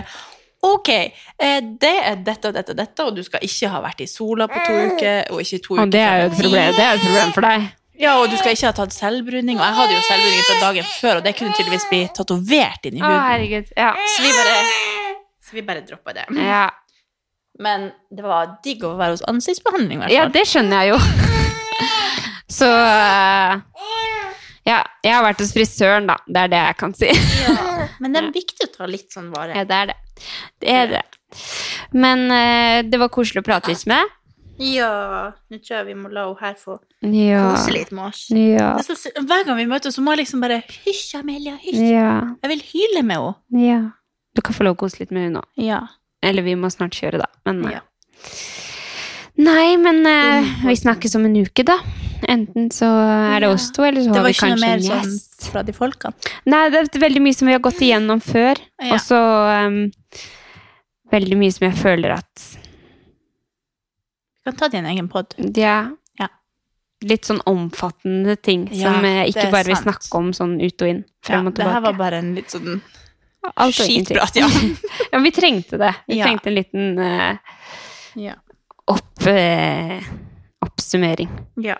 S1: Ok, eh, det er dette og dette og dette, og du skal ikke ha vært i sola på to uker, og ikke to uker
S2: Og det er jo
S1: før tid.»
S2: et problem, det er jo et problem for deg.
S1: Ja, og du skal ikke ha tatt selvbruning. Og jeg hadde jo selvbruning fra dagen før, og det kunne tydeligvis bli tatovert inn i
S2: Å,
S1: huden.
S2: herregud. Ja.
S1: Så vi bare, så vi bare droppa det.
S2: Ja.
S1: Men det var digg å være hos ansiktsbehandling, i hvert
S2: ja,
S1: fall.
S2: det skjønner jeg jo. Så eh, Ja, jeg har vært hos frisøren, da. Det er det jeg kan si.
S1: Men det er viktig å ta litt sånn vare.
S2: Ja, det er det. Det er det. Men eh, det var koselig å prate litt med.
S1: Ja, nå tror jeg vi må la henne her få
S2: Ja.
S1: kose litt med oss.
S2: Ja.
S1: Det er så, s- hver gang vi møtes, så må jeg liksom bare Hysj, Amelia, hysj.
S2: Ja.
S1: Jeg vil hyle med henne.
S2: ja. Du kan få lov å kose litt med henne nå.
S1: Ja.
S2: Eller vi må snart kjøre, da. Men, eh,
S1: Ja.
S2: Nei, men eh, vi snakkes om en uke, da. Enten så er det
S1: Ja.
S2: oss to, eller så
S1: Det
S2: har
S1: var
S2: vi
S1: ikke noe
S2: kanskje
S1: mer
S2: en
S1: sånn
S2: gjest.
S1: fra de folkene.
S2: Nei, det er veldig mye som vi har gått igjennom før.
S1: Ja.
S2: Og så ehm, veldig mye som jeg føler at
S1: Vi kan ta det i en egen pod.
S2: Ja.
S1: Ja.
S2: Litt sånn omfattende ting
S1: Ja,
S2: som jeg
S1: det
S2: ikke
S1: er
S2: bare vil
S1: sant.
S2: snakke om sånn ut og inn.
S1: Ja,
S2: Frem og
S1: det her
S2: tilbake.
S1: var bare en litt sånn
S2: Alt og ingenting.
S1: skitprat, ja.
S2: ja, men vi trengte det. Vi
S1: Ja.
S2: trengte en liten eh,
S1: Ja.
S2: opp, eh, oppsummering.
S1: Ja.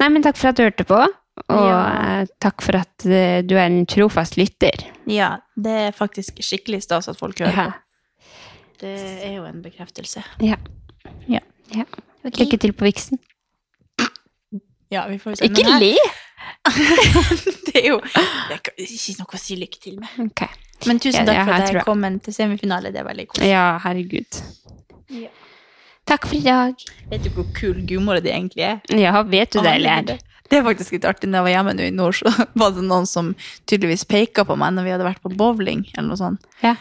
S2: Nei, men takk for at du hørte på. Og
S1: Ja.
S2: eh, takk for at eh, du er en trofast lytter.
S1: Ja, det er faktisk skikkelig stas at folk hører
S2: Ja.
S1: på. Det er jo en bekreftelse.
S2: Ja.
S1: Ja.
S2: Ja. Lykke til på viksen.
S1: Ja, vi får jo se.
S2: Ikke
S1: Men her-
S2: le!
S1: Det er jo det er ikke- ikke noe å si lykke til med.
S2: Ok.
S1: Men tusen
S2: Ja,
S1: takk
S2: ja,
S1: for
S2: her
S1: at
S2: tror
S1: jeg
S2: jeg.
S1: kom en til semifinale. Det er veldig koselig.
S2: Ja, herregud.
S1: Ja.
S2: Takk for i dag.
S1: Vet du hvor kul gudmora di egentlig er?
S2: Ja, vet du det, eller?
S1: Herregud. Det er faktisk litt artig. Når jeg var hjemme nå i nord, så var det noen som tydeligvis peka på meg når vi hadde vært på bowling. eller noe sånt.
S2: Ja.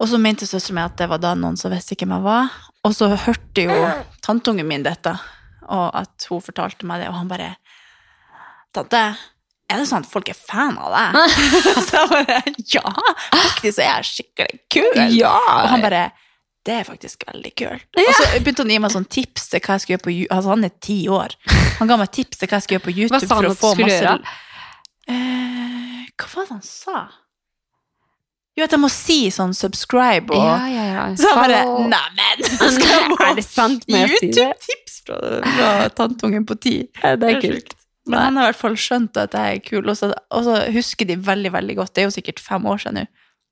S1: Og så mente søsteren min at det var da noen som visste hvem jeg var. Og så hørte jo tanteungen min dette, og at hun fortalte meg det, og han bare Tante, er det sånn at folk er fan av deg? så jeg bare Ja, faktisk er jeg skikkelig kul. Og han bare det er faktisk veldig kult. Og så begynte han å gi meg sånn tips til hva jeg skulle gjøre på YouTube. Altså, han er ti år. Han ga meg tips til hva jeg skulle gjøre på YouTube.
S2: Hva sa han
S1: for å
S2: at du
S1: få
S2: skulle
S1: masse-
S2: gjøre?
S1: Eh, hva var det han sa? Jo, at jeg må si sånn subscribe og
S2: Ja, ja, ja.
S1: så jeg bare
S2: Follow.
S1: Neimen, skal jeg
S2: Er det sant må jeg si det?
S1: YouTube-tips fra, fra tanteungen på ti?
S2: Ja, Det er kult.
S1: Men han har i hvert fall skjønt at jeg er kul, og så, og så husker de veldig veldig godt. Det er jo sikkert fem år siden nå.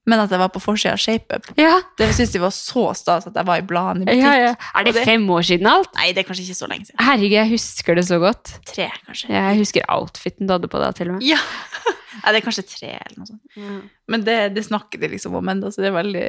S1: Men at jeg var på forsida av ShapeUp.
S2: Ja,
S1: Det syns de var så stas at jeg var i bladene i butikk.
S2: ja, ja. Er det fem år siden alt?
S1: Nei, det er kanskje ikke så lenge siden.
S2: Herregud, jeg husker det så godt.
S1: Tre, kanskje.
S2: Jeg husker outfiten du hadde på da, til og med.
S1: Ja. Nei, det er kanskje tre eller noe sånt. Men det, det snakker de liksom om ennå, så det er veldig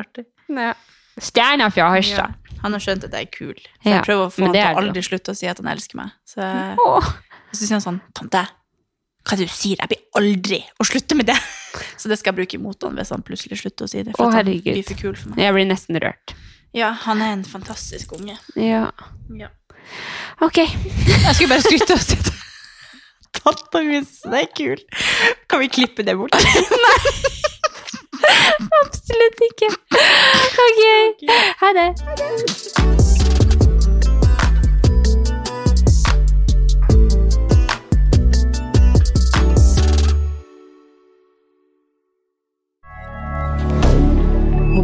S1: artig.
S2: Ja. Stjerna fra
S1: Ja.
S2: Harstad.
S1: Han har skjønt at jeg er kul. Så
S2: Ja,
S1: jeg prøver å få han
S2: men det
S1: til å
S2: er du.
S1: aldri slutte å si at han elsker meg. Så, jeg-
S2: Åh.
S1: så sier han sånn Tante, hva er det du sier? Jeg blir aldri å slutte med det! Så det skal jeg bruke imot han hvis han plutselig slutter å si det. For
S2: Å,
S1: at han
S2: herregud.
S1: blir for kul for meg.
S2: Jeg blir nesten rørt.
S1: Ja, han er en fantastisk unge.
S2: Ja.
S1: Ja.
S2: Ok.
S1: Jeg skulle bare skryte og si Tanta mi syns det er kul. Kan vi klippe det bort?
S2: Absolutt ikke. Ok. Ha det.